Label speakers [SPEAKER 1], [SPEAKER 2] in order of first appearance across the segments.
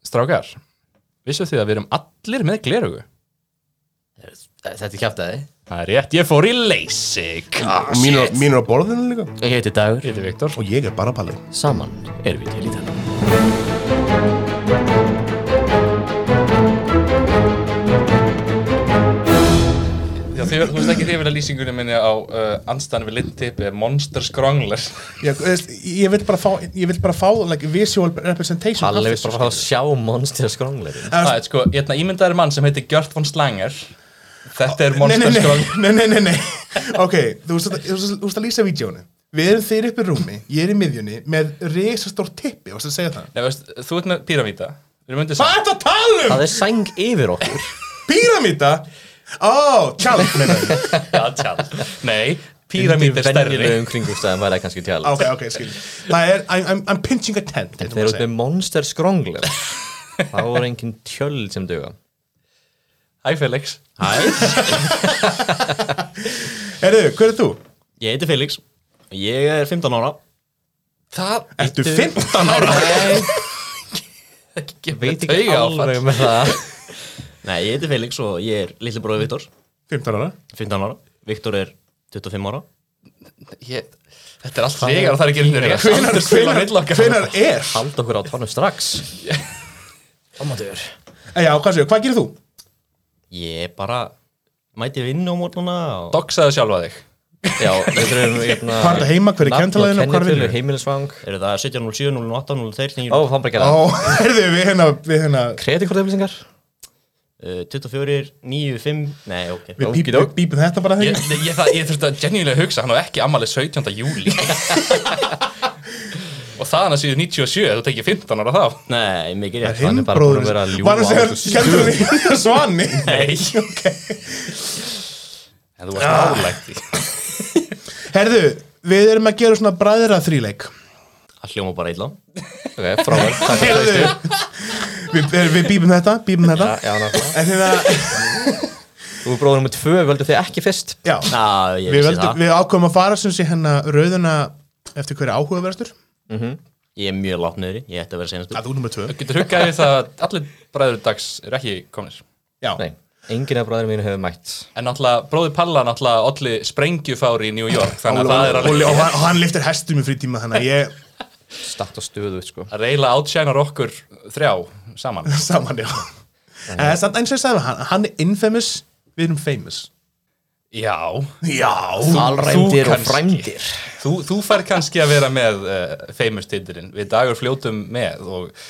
[SPEAKER 1] strákar, vissu þið að við erum allir með glerugu?
[SPEAKER 2] Þetta er kjáftæði.
[SPEAKER 1] Það er rétt, ég fór í leysik.
[SPEAKER 3] Ah.
[SPEAKER 4] Og mín er- mín er á borðinu líka
[SPEAKER 2] Ég heiti Dagur.
[SPEAKER 1] Ég heiti Viktor.
[SPEAKER 4] Og ég er bara palli
[SPEAKER 2] Saman erum við til í þetta.
[SPEAKER 5] Já, þið, þú veist ekki hrifin að lýsingunni minni á uh, anstæðan við lindtipi, Monster Skrongler.
[SPEAKER 3] Ég, þú veist, ég vil bara fá, ég vil bara fá like, visual representation af
[SPEAKER 2] Palli vil
[SPEAKER 3] þessu,
[SPEAKER 2] bara fara að
[SPEAKER 3] skilur.
[SPEAKER 2] sjá Monster Skronglerin.
[SPEAKER 5] Það er sko, ég er ímyndaður mann sem heitir Gjört von Slanger. Þetta er
[SPEAKER 3] Nei,
[SPEAKER 5] Monster
[SPEAKER 3] nei, nei,
[SPEAKER 5] Skrongler.
[SPEAKER 3] nei, nei, nei, nei Ok, þú veist að- þú veist að- þú veist að lýsa vídjónu Við erum þeir upp í rúmi, ég er í miðjunni með reisastór tippi, varstu að segja það?
[SPEAKER 5] Nei, veist, þú ert með píramíta. Við erum undir
[SPEAKER 3] Hvað
[SPEAKER 5] saman.
[SPEAKER 3] er þetta að tala um?
[SPEAKER 2] Það er sæng yfir okkur.
[SPEAKER 3] Píramíta? Ó, tjálf, meina ég
[SPEAKER 5] Já, tjál. Nei, píramíti er
[SPEAKER 2] Undir
[SPEAKER 5] stærri.
[SPEAKER 2] venjulegum kringumstæðum væri það kannski tjala.
[SPEAKER 3] Ok, ok, skil Það er, I'm, I'm, I'm pinching a tent
[SPEAKER 2] En þeir eru um- út með Monster Skrongler. Þá er engin tjöld sem duga.
[SPEAKER 5] Hæ, Felix.
[SPEAKER 3] Herru, hver er þú?
[SPEAKER 6] Ég heiti Felix og Ég er 15 ára
[SPEAKER 5] Það
[SPEAKER 3] Ertu 15 ára?
[SPEAKER 2] Veit ekki
[SPEAKER 5] taugaáfall.
[SPEAKER 2] alveg með það.
[SPEAKER 6] Nei, ég heiti Felix og ég er litli bróði Viktor
[SPEAKER 3] 15 ára?
[SPEAKER 6] 15 ára Viktor er 25 ára
[SPEAKER 5] Ég, þetta er allt þegar og það er ekki einhvern veginn rétt aldur spila
[SPEAKER 3] hvenar,
[SPEAKER 5] mill okkar
[SPEAKER 3] hvenar er?
[SPEAKER 2] Hald okkur á tónum strax. Amadur.
[SPEAKER 3] Eh, Já, hvað séu, hvað gerir þú?
[SPEAKER 6] Ég bara mæti vinnu á morgunna og
[SPEAKER 5] Doxaðu sjálfa þig
[SPEAKER 2] Já, við þurfum hérna...
[SPEAKER 3] Hvað er það heima, hver er kentalæðin og hvað er vinnur?
[SPEAKER 2] Heimilisvang.
[SPEAKER 6] eru það 1707, 08, 03, 09,
[SPEAKER 2] Ó, hann bara gerði
[SPEAKER 3] Ó,
[SPEAKER 2] það.
[SPEAKER 3] herðu, við hérna, við hérna
[SPEAKER 2] Kreditkorteflýsingar?
[SPEAKER 6] eh, 24, 9, 5 Nei, ok
[SPEAKER 3] Við bíp- við bípum þetta bara
[SPEAKER 5] Ég,
[SPEAKER 3] þegar
[SPEAKER 5] ég, ég, það- ég þurfti að genjulega hugsa hann á ekki ammali 17. júli og það hann að síðu 97 þú tekið 15 ára þá
[SPEAKER 6] Nei, mikið rétt
[SPEAKER 3] Hinn
[SPEAKER 2] er bara búinn að vera að
[SPEAKER 3] bróður
[SPEAKER 2] ljúga
[SPEAKER 3] Var hann
[SPEAKER 2] á
[SPEAKER 3] að
[SPEAKER 2] þessu
[SPEAKER 3] segja, kendur þú svanni?
[SPEAKER 6] Nei.
[SPEAKER 3] Ok. Ah.
[SPEAKER 5] en þú varst nálægt í
[SPEAKER 3] Herðu, við erum að gera svona bræðra þríleik
[SPEAKER 6] Það hljóma bara illa
[SPEAKER 2] Ok, frávæl, takk fyrir það.
[SPEAKER 3] Herðu, við, við bípum þetta, bípum þetta
[SPEAKER 2] Já, náttúrulega.
[SPEAKER 3] En hérna, þegar,
[SPEAKER 2] Þú er bróður nummið tvö, völdu þið ekki fyrst?
[SPEAKER 3] já
[SPEAKER 6] Ná, ég
[SPEAKER 3] Við,
[SPEAKER 6] vissi
[SPEAKER 3] völdum,
[SPEAKER 6] það
[SPEAKER 3] við ákveðum að fara sem sé hennar rauðuna eftir hverja áhugaverðastur
[SPEAKER 6] Ég er mjög látt niðri Ég ætti að vera senast
[SPEAKER 3] að þú nummer tvö
[SPEAKER 5] þú getur huggað við það að allir bræður dags er ekki komnir
[SPEAKER 3] já,
[SPEAKER 2] Nei, enginn af bróður mínu hefur mætt.
[SPEAKER 5] en náttúrulega bróði Palla náttúrulega olli sprengjufári í New York þannig að það er
[SPEAKER 3] og, og,
[SPEAKER 5] alveg
[SPEAKER 3] og, hann- og hann liftir hestum í frítíma þannig að ég
[SPEAKER 2] Statt og stöðu, sko.
[SPEAKER 5] að reyla átsjænar okkur þrjá saman
[SPEAKER 3] saman já en það er samt eins og ég sagði hann, hann er infamous við erum famous
[SPEAKER 5] já
[SPEAKER 3] já,
[SPEAKER 2] Alræmdir og
[SPEAKER 5] kannski.
[SPEAKER 2] fræmdir.
[SPEAKER 5] þú, þú fær kannski að vera með uh, famous titilinn við dagur fljótum með og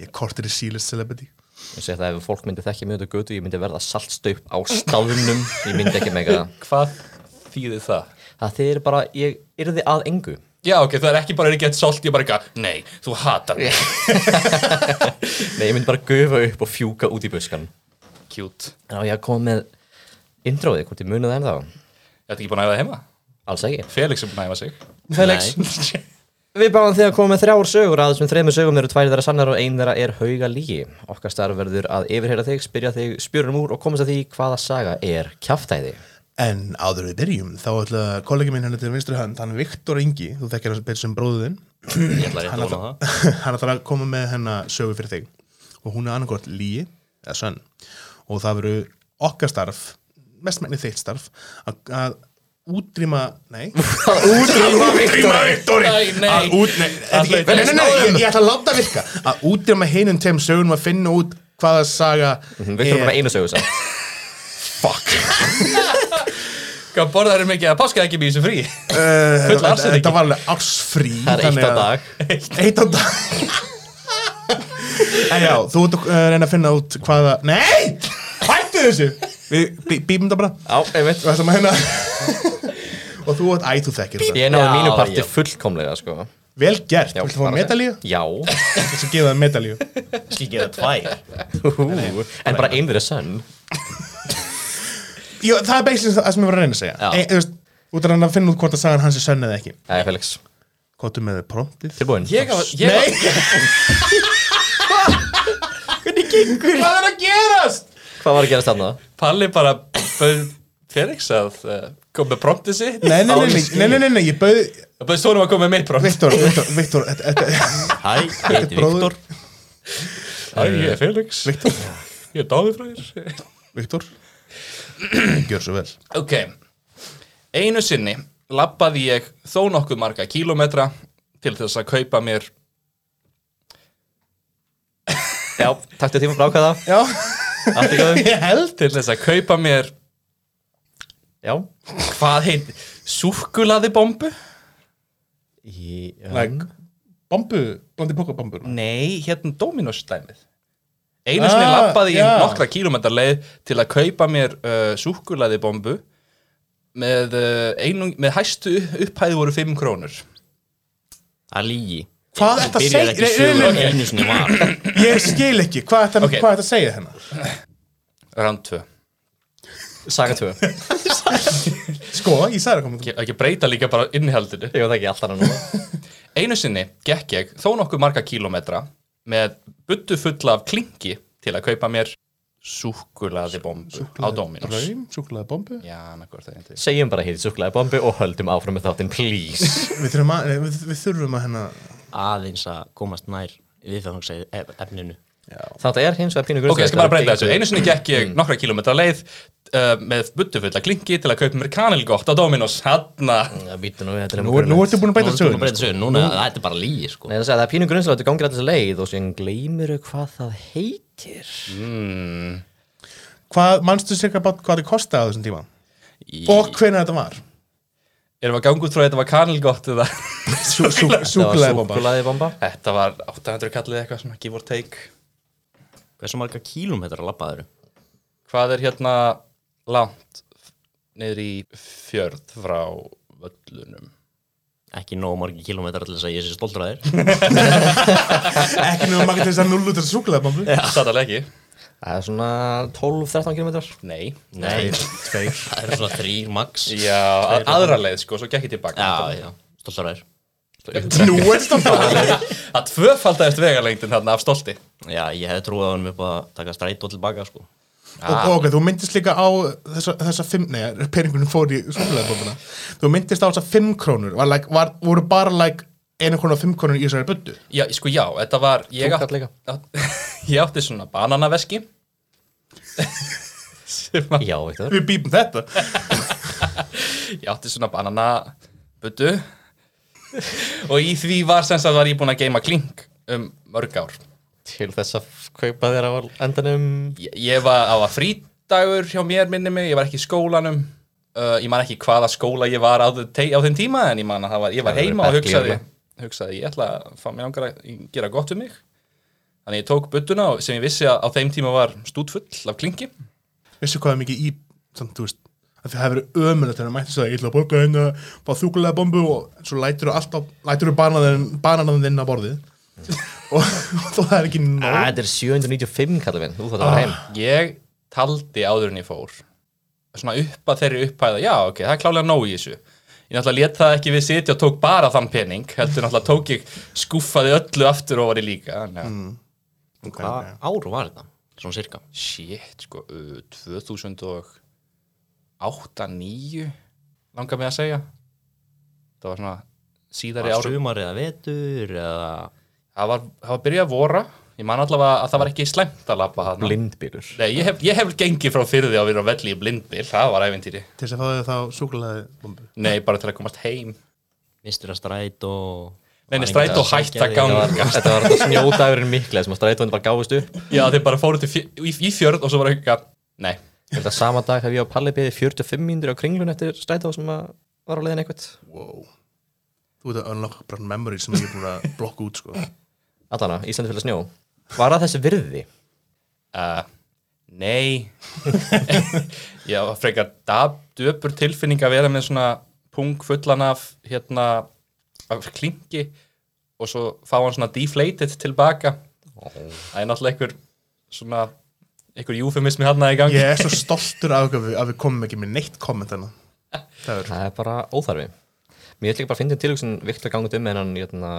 [SPEAKER 3] ég er kortir í sílist celebrity
[SPEAKER 2] Ég segi það ef fólk myndi þekki mjög þetta götu, ég myndi verða saltstaupp á staðnum, ég myndi ekki mega það.
[SPEAKER 5] hvað þýðir það?
[SPEAKER 2] Það þið eru bara, ég yrði að engu.
[SPEAKER 5] Já, ok, það er ekki bara er ekki eitt solt, ég bara eitthvað, nei, þú hatar mig.
[SPEAKER 2] Nei, ég myndi bara gufa upp og fjúka út í buskan.
[SPEAKER 5] Cute.
[SPEAKER 2] Já, ég kom með introði, hvort ég munið það ennþá.
[SPEAKER 5] Þetta ekki búin að æfa það heima?
[SPEAKER 2] Alls ekki.
[SPEAKER 5] Felix er búin að æfa sig.
[SPEAKER 2] Felix, Við báðum þig að koma með þrjár sögur að þessum þremur sögum eru tvær þeirra sannar og ein þeirra er hauga lígi. Okkar starf verður að yfirheyra þig, spyrja þig, spjörunum úr og komast að því hvaða saga er kjáftæði.
[SPEAKER 3] en áður við byrjum þá ætla kollegi minn henni til vinstri hönd hann er Viktor Ingi, þú þekkir hans betur sem bróðin
[SPEAKER 6] Ég ætla rétt að vona það
[SPEAKER 3] hann ætlar að koma með hennar sögu fyrir þig og hún er annarkort líi eða sönn og það veru okkar starf mestmægni þitt starf að, að útrýma, nei útrýma útrýma Viktori
[SPEAKER 5] Nei, nei.
[SPEAKER 3] að út, nei, er ekki-
[SPEAKER 5] hlaut-
[SPEAKER 3] nei, nei, nei, ég, ég ætla að láta virka að útrýma hinum tveim sögunum að finna út hvaða saga
[SPEAKER 2] Við þurfum bara einu sögu samt.
[SPEAKER 3] fuck
[SPEAKER 5] Hvað borðar er mikið að páska ekki mjög sem frí?
[SPEAKER 3] Eh, þetta
[SPEAKER 5] afsökun.
[SPEAKER 3] þetta var alveg ársfrí
[SPEAKER 2] Það er eitt
[SPEAKER 3] þannig
[SPEAKER 2] á
[SPEAKER 3] að-
[SPEAKER 2] dag.
[SPEAKER 3] eitt á dag en já, þú ert að uh, reyna að finna út hvaða nei, hættu þessu við bí- bípum það bara
[SPEAKER 2] Já, einmitt.
[SPEAKER 3] og það sem að hérna og þú ert, æ, þú þekkir þetta
[SPEAKER 2] Ég náði
[SPEAKER 6] Já,
[SPEAKER 2] mínu parti
[SPEAKER 6] já.
[SPEAKER 2] fullkomlega, sko.
[SPEAKER 3] vel gert,
[SPEAKER 2] Já,
[SPEAKER 3] viltu fá
[SPEAKER 2] bara að
[SPEAKER 3] medalíu?
[SPEAKER 2] Já.
[SPEAKER 3] þess að gefa það medalíu
[SPEAKER 6] Ég skal gefa tvær
[SPEAKER 2] Hú, en bara ein þeirra er sönn.
[SPEAKER 3] Jó, það er basically það sem ég var að reyna að segja
[SPEAKER 2] Já.
[SPEAKER 3] e, þú veist, út af hann að finna út hvort að sagan hans er sönn eða ekki
[SPEAKER 2] Jæja, Felix.
[SPEAKER 3] hvort með promptið
[SPEAKER 2] Tilbúin.
[SPEAKER 5] Ég á, ég á,
[SPEAKER 3] hvað er að gerast?
[SPEAKER 2] Hvað var að gerast þarna?
[SPEAKER 5] Palli bara bauð Felix að uh, koma með promptið sitt.
[SPEAKER 3] nei, nei, nei, nei, nei, nei, nei, nei ég bauð
[SPEAKER 5] Það bauð Sónum að koma með mitt prompt.
[SPEAKER 3] Viktor, Viktor, Viktor þetta- þetta-
[SPEAKER 6] Hæ, ég heiti
[SPEAKER 3] bróður.
[SPEAKER 6] Viktor
[SPEAKER 5] Æ, ég er Felix
[SPEAKER 3] Viktor,
[SPEAKER 5] Ég er Dáði fræðir
[SPEAKER 3] Viktor Gjör svo vel
[SPEAKER 5] Ok, einu sinni labbaði ég þó nokkuð marga kílómetra til þess að kaupa mér
[SPEAKER 2] Já, takk til tíma brákaða
[SPEAKER 3] Já,
[SPEAKER 2] Allt í góðum
[SPEAKER 5] Ég held til þess að kaupa mér
[SPEAKER 2] Já
[SPEAKER 5] hvað heit, súkkulaðibombu?
[SPEAKER 2] Í- já.
[SPEAKER 3] like Bombu, blandi pókabombu
[SPEAKER 6] Mm.
[SPEAKER 5] Nei, hérna Dominos dæmið Einu sinni
[SPEAKER 3] Ah,
[SPEAKER 5] labbaði ég
[SPEAKER 3] já.
[SPEAKER 5] nokkra kílómetra leið til að kaupa mér uh, súkkulaðibombu með, uh, einung, með hæstu upphæði voru 5 krónur
[SPEAKER 6] Það er lígi
[SPEAKER 3] Hvað þetta
[SPEAKER 6] Byrjar ekki
[SPEAKER 3] segir-
[SPEAKER 6] sögur
[SPEAKER 3] nei, nei,
[SPEAKER 6] að einu sinni var
[SPEAKER 3] Ég skil ekki, hvað þetta,
[SPEAKER 5] Ok.
[SPEAKER 3] okay. hvað þetta segir hennar
[SPEAKER 5] Rand 2
[SPEAKER 2] Saga 2 Ég
[SPEAKER 3] Sko, ég sagði að koma
[SPEAKER 5] Ekki- Ekki breyta líka bara innihaldinu
[SPEAKER 2] veit það ekki alltaf núna
[SPEAKER 5] Einu sinni gekk ég þó nokkuð marga kílómetra með buddu fulla af klingi til að kaupa mér súkkulaði bombu á Dominos.
[SPEAKER 3] Raum, súkulega bombu
[SPEAKER 5] Já, annarkvort það hindi.
[SPEAKER 2] Segjum bara hér í súklaði bombi og höldum áfram með þáttinn, please
[SPEAKER 3] Við þurfum að, nei, við, við þurfum að hérna- hennar
[SPEAKER 6] aðeins að komast nær viðfjáðansæði efninu
[SPEAKER 2] Þetta er hins vegar pínu grunn
[SPEAKER 5] Ok, ég skal bara breyta þessu. Einu sinni gekk ég nokkra kílómetra leið uh, með buddu fulla af klingi til að kaupa mér kanilgott á Dominos. Hanna.
[SPEAKER 2] Það býtu nú, þetta er
[SPEAKER 3] Nú, nú ertu búin að
[SPEAKER 6] Nú
[SPEAKER 3] beita
[SPEAKER 6] erum við búin að
[SPEAKER 3] sögur
[SPEAKER 6] breyta sögur, núna þetta er bara lígi sko
[SPEAKER 2] Nei, það segja, það er pínu grunnslega að þú gangir alltaf leið og síðan gleymir þau hvað það heitir
[SPEAKER 3] Hvað, manstu cirka bát hvað þetta kostaði á þessum tíma?
[SPEAKER 6] Í-
[SPEAKER 3] Og hvenær þetta var?
[SPEAKER 5] Erum við að ganga út frá að þetta var kanilgott eða?
[SPEAKER 3] Súkulega bomba
[SPEAKER 2] Súklaði bomba
[SPEAKER 5] þetta var 800 kallið eitthvað svona give or take.
[SPEAKER 6] Hversu marga kílómetra labbaður
[SPEAKER 5] Hvað er hérna langt niður í fjörð frá völlunum?
[SPEAKER 6] Ekki nóg margi kílómetra til þess að ég sé stoltur að þér
[SPEAKER 3] Ekki nefnum að maður til þess að null út þessu súkulega bombu
[SPEAKER 5] Sattalega ekki.
[SPEAKER 2] Það er svona 12-13 kilometrar
[SPEAKER 5] Nei.
[SPEAKER 6] Nei, tveir Það eru svona þrýr max Já,
[SPEAKER 5] Já, að, aðra leið sko, svo gekk ég tilbaka
[SPEAKER 6] já, stoltur að þér
[SPEAKER 5] Nú er stoltið Það tvöfaldæðist vegalengdin þarna af stolti
[SPEAKER 6] Já, ég hefði trúið að honum upp að taka strætó tilbaka sko
[SPEAKER 3] og, og ok, þú myndist líka á þessa, þessa fimm, nei, peningunum fór í súkulegabókuna, þú myndist á þessa fimm krónur, var, like, var, voru bara like einu krónu og fimm krónur í þessari buddu
[SPEAKER 5] Já, sko já, þetta var Ég,
[SPEAKER 2] kall líka.
[SPEAKER 5] átt, ég átti svona bananaveski sem að
[SPEAKER 2] Já, Viktor
[SPEAKER 3] við býpum þetta
[SPEAKER 5] Ég átti svona bananabuttu og í því var sem sagt var ég búinn að geima klink um mörg ár
[SPEAKER 2] Til þess að kaupa þér á endanum
[SPEAKER 5] Ég, ég var á að frídagur hjá mér minni mig, ég var ekki í skólanum uh, ég man ekki hvaða skóla ég var á, þe- te- á þeim tíma en ég man að það var, ég var
[SPEAKER 2] Það hefur
[SPEAKER 5] heima og
[SPEAKER 2] verið
[SPEAKER 5] hugsaði,
[SPEAKER 2] berkli,
[SPEAKER 5] hugsaði ég ætla að fá mér langar að gera gott um mig þannig ég tók budduna og- sem ég vissi að á þeim tíma var stútfull af klingi
[SPEAKER 3] vissu hvað er mikið í, samt, þú veist að það hefur verið ömulegt þegar mættist það ég ætla að borga henni að fá þúkulega bombu og svo lætur þú alltaf, lætur þú bananum þinn á borðið og, og þó það er ekki
[SPEAKER 2] Æ,
[SPEAKER 3] nóg
[SPEAKER 2] Þetta er 795 kallið minn, þú þátt að fara heim
[SPEAKER 5] ég taldi áður en ég fór svona upp að þeirri upphæða já ok, það er klálega nóg í þessu ég náttúrulega let það ekki við sitja og tók bara þann pening heldur náttúrulega tók ég skúfaði öllu aftur og var ég líka þannig að
[SPEAKER 6] Hvað ár var þetta? Svona cirka
[SPEAKER 5] Shit, sko, uh, 2008, 9 langar mig að segja það var svona síðari
[SPEAKER 6] Var
[SPEAKER 5] ári
[SPEAKER 6] sumar eða vetur eða
[SPEAKER 5] það var, það var byrjað að vora ég man allavega að það var ekki slæmt að labba
[SPEAKER 2] Ah.
[SPEAKER 5] þarna
[SPEAKER 2] Blindbýlur
[SPEAKER 5] Nei, ég hef, ég hef gengið frá fyrði á að vera á velli í blindbíl, það var ævintýri
[SPEAKER 3] til þess að fá þau þá súkulega bombu
[SPEAKER 5] Nei, bara til að komast heim
[SPEAKER 6] Mistur að strætó
[SPEAKER 5] Nei, nei, strætó hætt að ganga
[SPEAKER 2] Þetta var þetta snjódagurinn mikla sem að strætóin bara gáðist upp Ég
[SPEAKER 5] Já, þeir bara fóru til fjör, í, í fjörð og svo var eitthvað Nei,
[SPEAKER 2] held að sama dag hef ég á Palli beðið 45 mínútur á kringlun eftir strætó sem að var á leiðin eitthvað
[SPEAKER 3] wow þú veit að unlock bara memories sem ég er búin að blokka út sko
[SPEAKER 2] Allana, Íslandi fyrir snjó Var það þessi virði?
[SPEAKER 5] uh, nei Já, frekar dab, döpur tilfinning að vera með svona pung fullan af hérna, af klingi og svo fá hann svona deflated tilbaka Það er náttúrulega einhver svona, einhver júfemismi hann í gangi
[SPEAKER 3] Ég er svo stoltur af okkur að við komum ekki með neitt komment hennar. Það er
[SPEAKER 2] Það er bara óþarfi Mér ætla ekki bara að finna tilhugsun Viktor gangut um en hann jötna,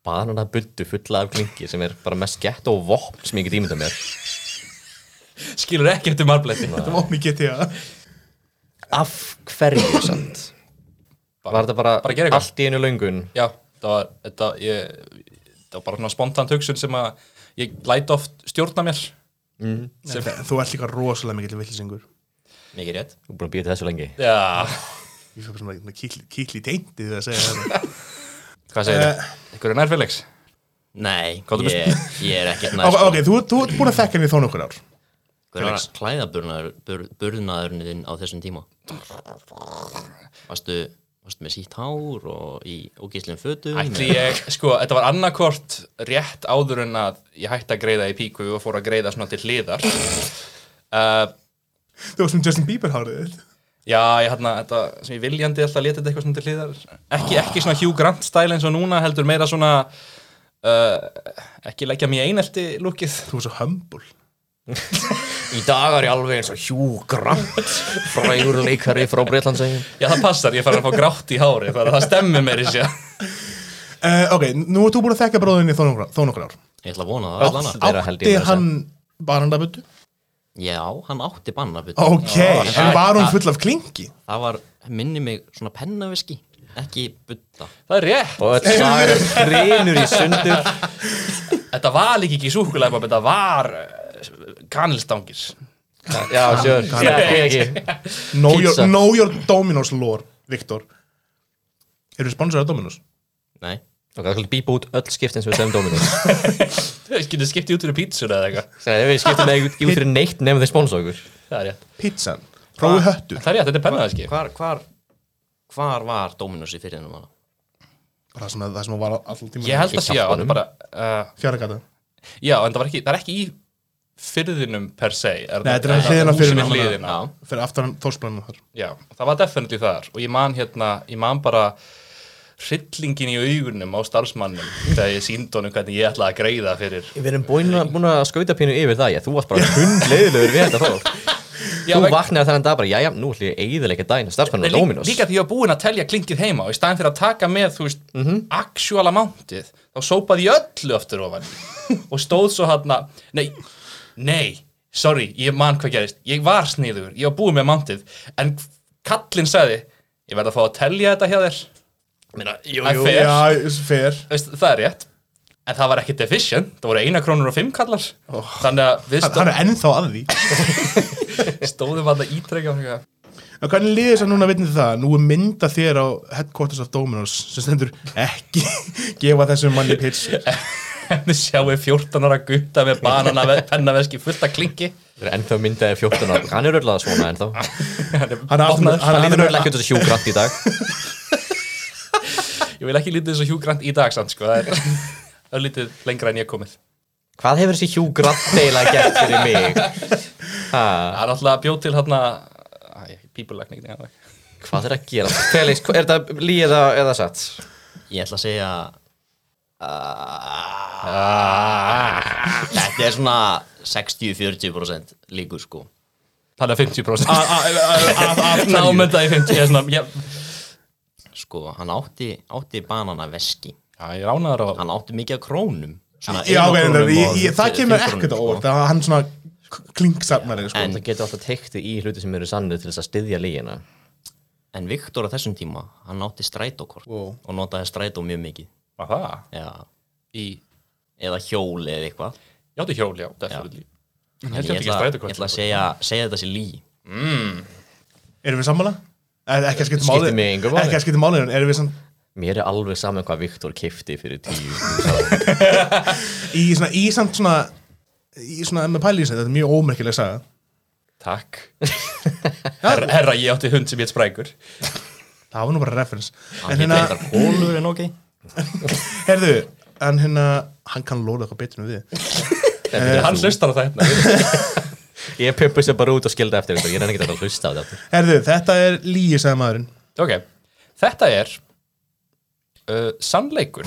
[SPEAKER 2] bananabuddu fulla af klingi sem er bara mest gett og vopn sem ég get ímynda mér
[SPEAKER 5] Skilur ekki eftir marbletti
[SPEAKER 3] Það var mikið til að
[SPEAKER 2] Af hverju samt? Var þetta bara,
[SPEAKER 5] bara gera eitthvað.
[SPEAKER 2] allt í einu löngun?
[SPEAKER 5] Já, það var, þetta, ég, þetta var bara svona spontant hugsun sem að ég læt oft stjórna mér
[SPEAKER 3] Sem, þú ert líka rosalega mikill villisengur
[SPEAKER 6] mikið rétt
[SPEAKER 2] Þú er búin að býja til þessu lengi
[SPEAKER 5] Já,
[SPEAKER 3] Ég fyrir bara svona kýtli, kýtli teinti þegar að segja þetta
[SPEAKER 5] hvað segir þið? Ykkur er nærfélags?
[SPEAKER 6] Nei,
[SPEAKER 5] Komdu með
[SPEAKER 6] ég, ég er ekkert
[SPEAKER 3] Ok,
[SPEAKER 6] næst sko.
[SPEAKER 3] ok, þú, þú ert búin að þekka henni þó nokkur ár
[SPEAKER 6] Hver var klæðaburnaðurinn þinn á þessum tíma? Varstu, varstu með sítt hár og í ógíslum fötum?
[SPEAKER 5] Ætli ég, sko, þetta var annarkvort rétt áður en að ég hætti að greiða í píku og fór að greiða svona til hliðar uh,
[SPEAKER 3] Þú varst um Justin Bieber hárið þitt
[SPEAKER 5] Já, ég hérna, þetta sem ég viljandi alltaf leta þetta eitthvað svona til hliðar ekki, ekki svona Hugh Grant stæl eins og núna heldur meira svona uh, ekki leggja mér einelti lúkið
[SPEAKER 3] Þú varst svo humble
[SPEAKER 2] Í dag er ég alveg eins og Hugh Grant Frægur leikari frá Breitlandsegjum
[SPEAKER 5] Já, það passar, ég fara að fá grátt í hári það, það stemmir mér í sér
[SPEAKER 3] uh, Ok, nú ert þú búin að þekka bróðinni þó nokkur, þó nokkur ár
[SPEAKER 6] Ég ætla að vona það allan að
[SPEAKER 2] Þeirra held ég
[SPEAKER 3] Átti
[SPEAKER 2] meira að segja.
[SPEAKER 3] hann barandabötu?
[SPEAKER 6] Já, hann átti banna
[SPEAKER 3] Ok, en var hún full af klingi?
[SPEAKER 6] Það var, minni mig, svona pennaviski Ekki butta
[SPEAKER 5] Það er rétt,
[SPEAKER 2] Og öll sagar hreinur í sundur
[SPEAKER 5] þetta var líka ekki súkulega þetta var uh, kanilstangir
[SPEAKER 2] Já, sure, ég ekki
[SPEAKER 3] Know your,
[SPEAKER 2] Pizza.
[SPEAKER 3] know your Dominos lore, Viktor Eru þið sponsorið af Dominos?
[SPEAKER 6] Nei,
[SPEAKER 2] Ok, það skulle bípa út öll skiptin sem við segjum Dominus
[SPEAKER 5] Getur skiptið út fyrir pítsur eða eitthvað
[SPEAKER 2] Þegar við skiptum ekki út fyrir neitt nefnum þeir sponsa okkur
[SPEAKER 5] Það er rétt,
[SPEAKER 3] Pizzan, prófið höttu
[SPEAKER 5] það er rétt, þetta er pennaðarski
[SPEAKER 6] hvar, hvar, hvar var Dominus í fyririnu hana?
[SPEAKER 3] Bara það sem, það sem var alltaf tíma
[SPEAKER 5] Ég held að sé á, þetta er bara uh,
[SPEAKER 3] Fjaragata
[SPEAKER 5] Já, en það, var ekki, það er ekki í fyrðinum per se er það-
[SPEAKER 3] Nei, þetta er hann
[SPEAKER 5] það-
[SPEAKER 3] hliðina á
[SPEAKER 5] húsin er
[SPEAKER 3] firðinum.
[SPEAKER 5] hliðina.
[SPEAKER 6] Já,
[SPEAKER 3] Fyrir aftur hann þórsblæðinu þar
[SPEAKER 5] Já, það var definitely þar og ég man hérna, ég man bara hryllingin í augunum á starfsmannum þegar ég síndi honum hvernig ég ætlaði að greiða fyrir
[SPEAKER 2] Við erum búin að, búin að skauta pínu yfir það, já, þú varst bara hundleiðilegur við þetta þó
[SPEAKER 5] Já,
[SPEAKER 2] Þú
[SPEAKER 5] veg-
[SPEAKER 2] vaknaði þennan dag bara, já, já, nú ætlum ég að eigðilega dæna starfsmann
[SPEAKER 5] Nei,
[SPEAKER 2] á
[SPEAKER 5] lí-
[SPEAKER 2] Dominus
[SPEAKER 5] Líka því ég var búinn að telja klingið heima og í staðin fyrir að taka með, þú veist,
[SPEAKER 2] Mhm.
[SPEAKER 5] actual amountið, þá sópaði ég öllu aftur ofan og stóð svo hérna, nei, nei, sorry, ég man hvað gerist, ég var sniður, ég var búinn með amountið, en kallinn sagði, ég verð að fá að telja þetta hjá þér,
[SPEAKER 2] Meina, jú,
[SPEAKER 5] það er fair,
[SPEAKER 3] Já, fair
[SPEAKER 5] Veist, það er rétt, en það var ekkit efficient, það voru eina krónur og fimm kallar, þannig að við
[SPEAKER 3] Hann, hann
[SPEAKER 5] stó,
[SPEAKER 3] er ennþá að því
[SPEAKER 5] stóðum að það ítrekka, og eitthvað,
[SPEAKER 3] En hvernig liðir þess að núna vitnið það? Nú er mynda þér á headquarters of Dominos sem stendur ekki gefa þessum manni pils
[SPEAKER 5] við sjáum 14 ára gutta með banana, pennaveski fullt af klingi.
[SPEAKER 2] Ennþá myndaði 14 ára, hann er öll að svona ennþá
[SPEAKER 3] Hann er aftur-
[SPEAKER 5] Opnaður.
[SPEAKER 3] hann-
[SPEAKER 2] Hann
[SPEAKER 3] hann
[SPEAKER 2] líður
[SPEAKER 3] er
[SPEAKER 2] öll ekki út þessu Hugh Grant í dag
[SPEAKER 5] Ég vil ekki lítið eins og Hugh Grant í dag samt, sko, það er, það er lítið lengra en ég er komið.
[SPEAKER 2] Hvað hefur þessi Hugh Grant eiginlega gert fyrir mig? Ha,
[SPEAKER 5] Það er alltaf bjóð til hérna, pípulagning, neina,
[SPEAKER 2] hvað er að gera? Felix, hva- er þetta líða eða satt?
[SPEAKER 6] ég ætla að segja Ah. Þetta er svona 60-40% líkur sko
[SPEAKER 5] það er 50%.
[SPEAKER 3] að
[SPEAKER 5] Námönda í 50, ég er svona, ég,
[SPEAKER 6] Sko, hann átti, átti bananaveski
[SPEAKER 5] já, ég ránaður á,
[SPEAKER 6] Hann átti mikið af krónum svona
[SPEAKER 3] Já, ok,
[SPEAKER 6] einakrónum
[SPEAKER 3] en ég-
[SPEAKER 6] og
[SPEAKER 3] ég- það
[SPEAKER 6] fyr-
[SPEAKER 3] kemur
[SPEAKER 6] fyrkrónum,
[SPEAKER 3] ekkert á
[SPEAKER 6] sko.
[SPEAKER 3] óvart Það hann svona klingsafnari sko.
[SPEAKER 6] En-
[SPEAKER 2] Það getur alltaf teikti í hluti sem eru sannu til þess að styðja lígina
[SPEAKER 6] En Viktor á þessum tíma, hann átti strætókort
[SPEAKER 3] Wow.
[SPEAKER 6] og notaði strætó mjög mikið
[SPEAKER 5] var það?
[SPEAKER 6] Já,
[SPEAKER 5] Í,
[SPEAKER 6] eða hjóli eða eitthvað
[SPEAKER 5] ég átti hjól, já, definitely. Ég
[SPEAKER 6] En
[SPEAKER 5] held ég átti ekki
[SPEAKER 6] ætla,
[SPEAKER 5] strætu
[SPEAKER 6] ég ætla að segja, segja þetta sér lí
[SPEAKER 3] Erum við sammála? Eh, Ekki að skipta
[SPEAKER 2] Skiptir
[SPEAKER 3] máli
[SPEAKER 2] mig engu máli.
[SPEAKER 3] Ekki að skipta máli en Erum við samt
[SPEAKER 2] Mér er alveg saman hvað Viktor kifti fyrir tíu
[SPEAKER 3] í svona Í samt svona Í svona með pæli í sig Þetta er mjög ómerkileg saga
[SPEAKER 5] Takk. herra, herra, ég átti hund sem ég sprækur.
[SPEAKER 3] Það var nú bara referens En
[SPEAKER 6] Hann
[SPEAKER 3] hérna
[SPEAKER 6] hérna... heitir hólur en ok
[SPEAKER 3] Herðu En hérna Hann kann lóla eitthvað betur en við
[SPEAKER 5] Hann hlustar á hérna. þetta.
[SPEAKER 2] Ég pumpu sér bara út og skildi eftir Viktor Ég er ekki að hlusta á þetta
[SPEAKER 3] Herðu, þetta er líi sagði maðurinn
[SPEAKER 5] ok, þetta er uh, sannleikur.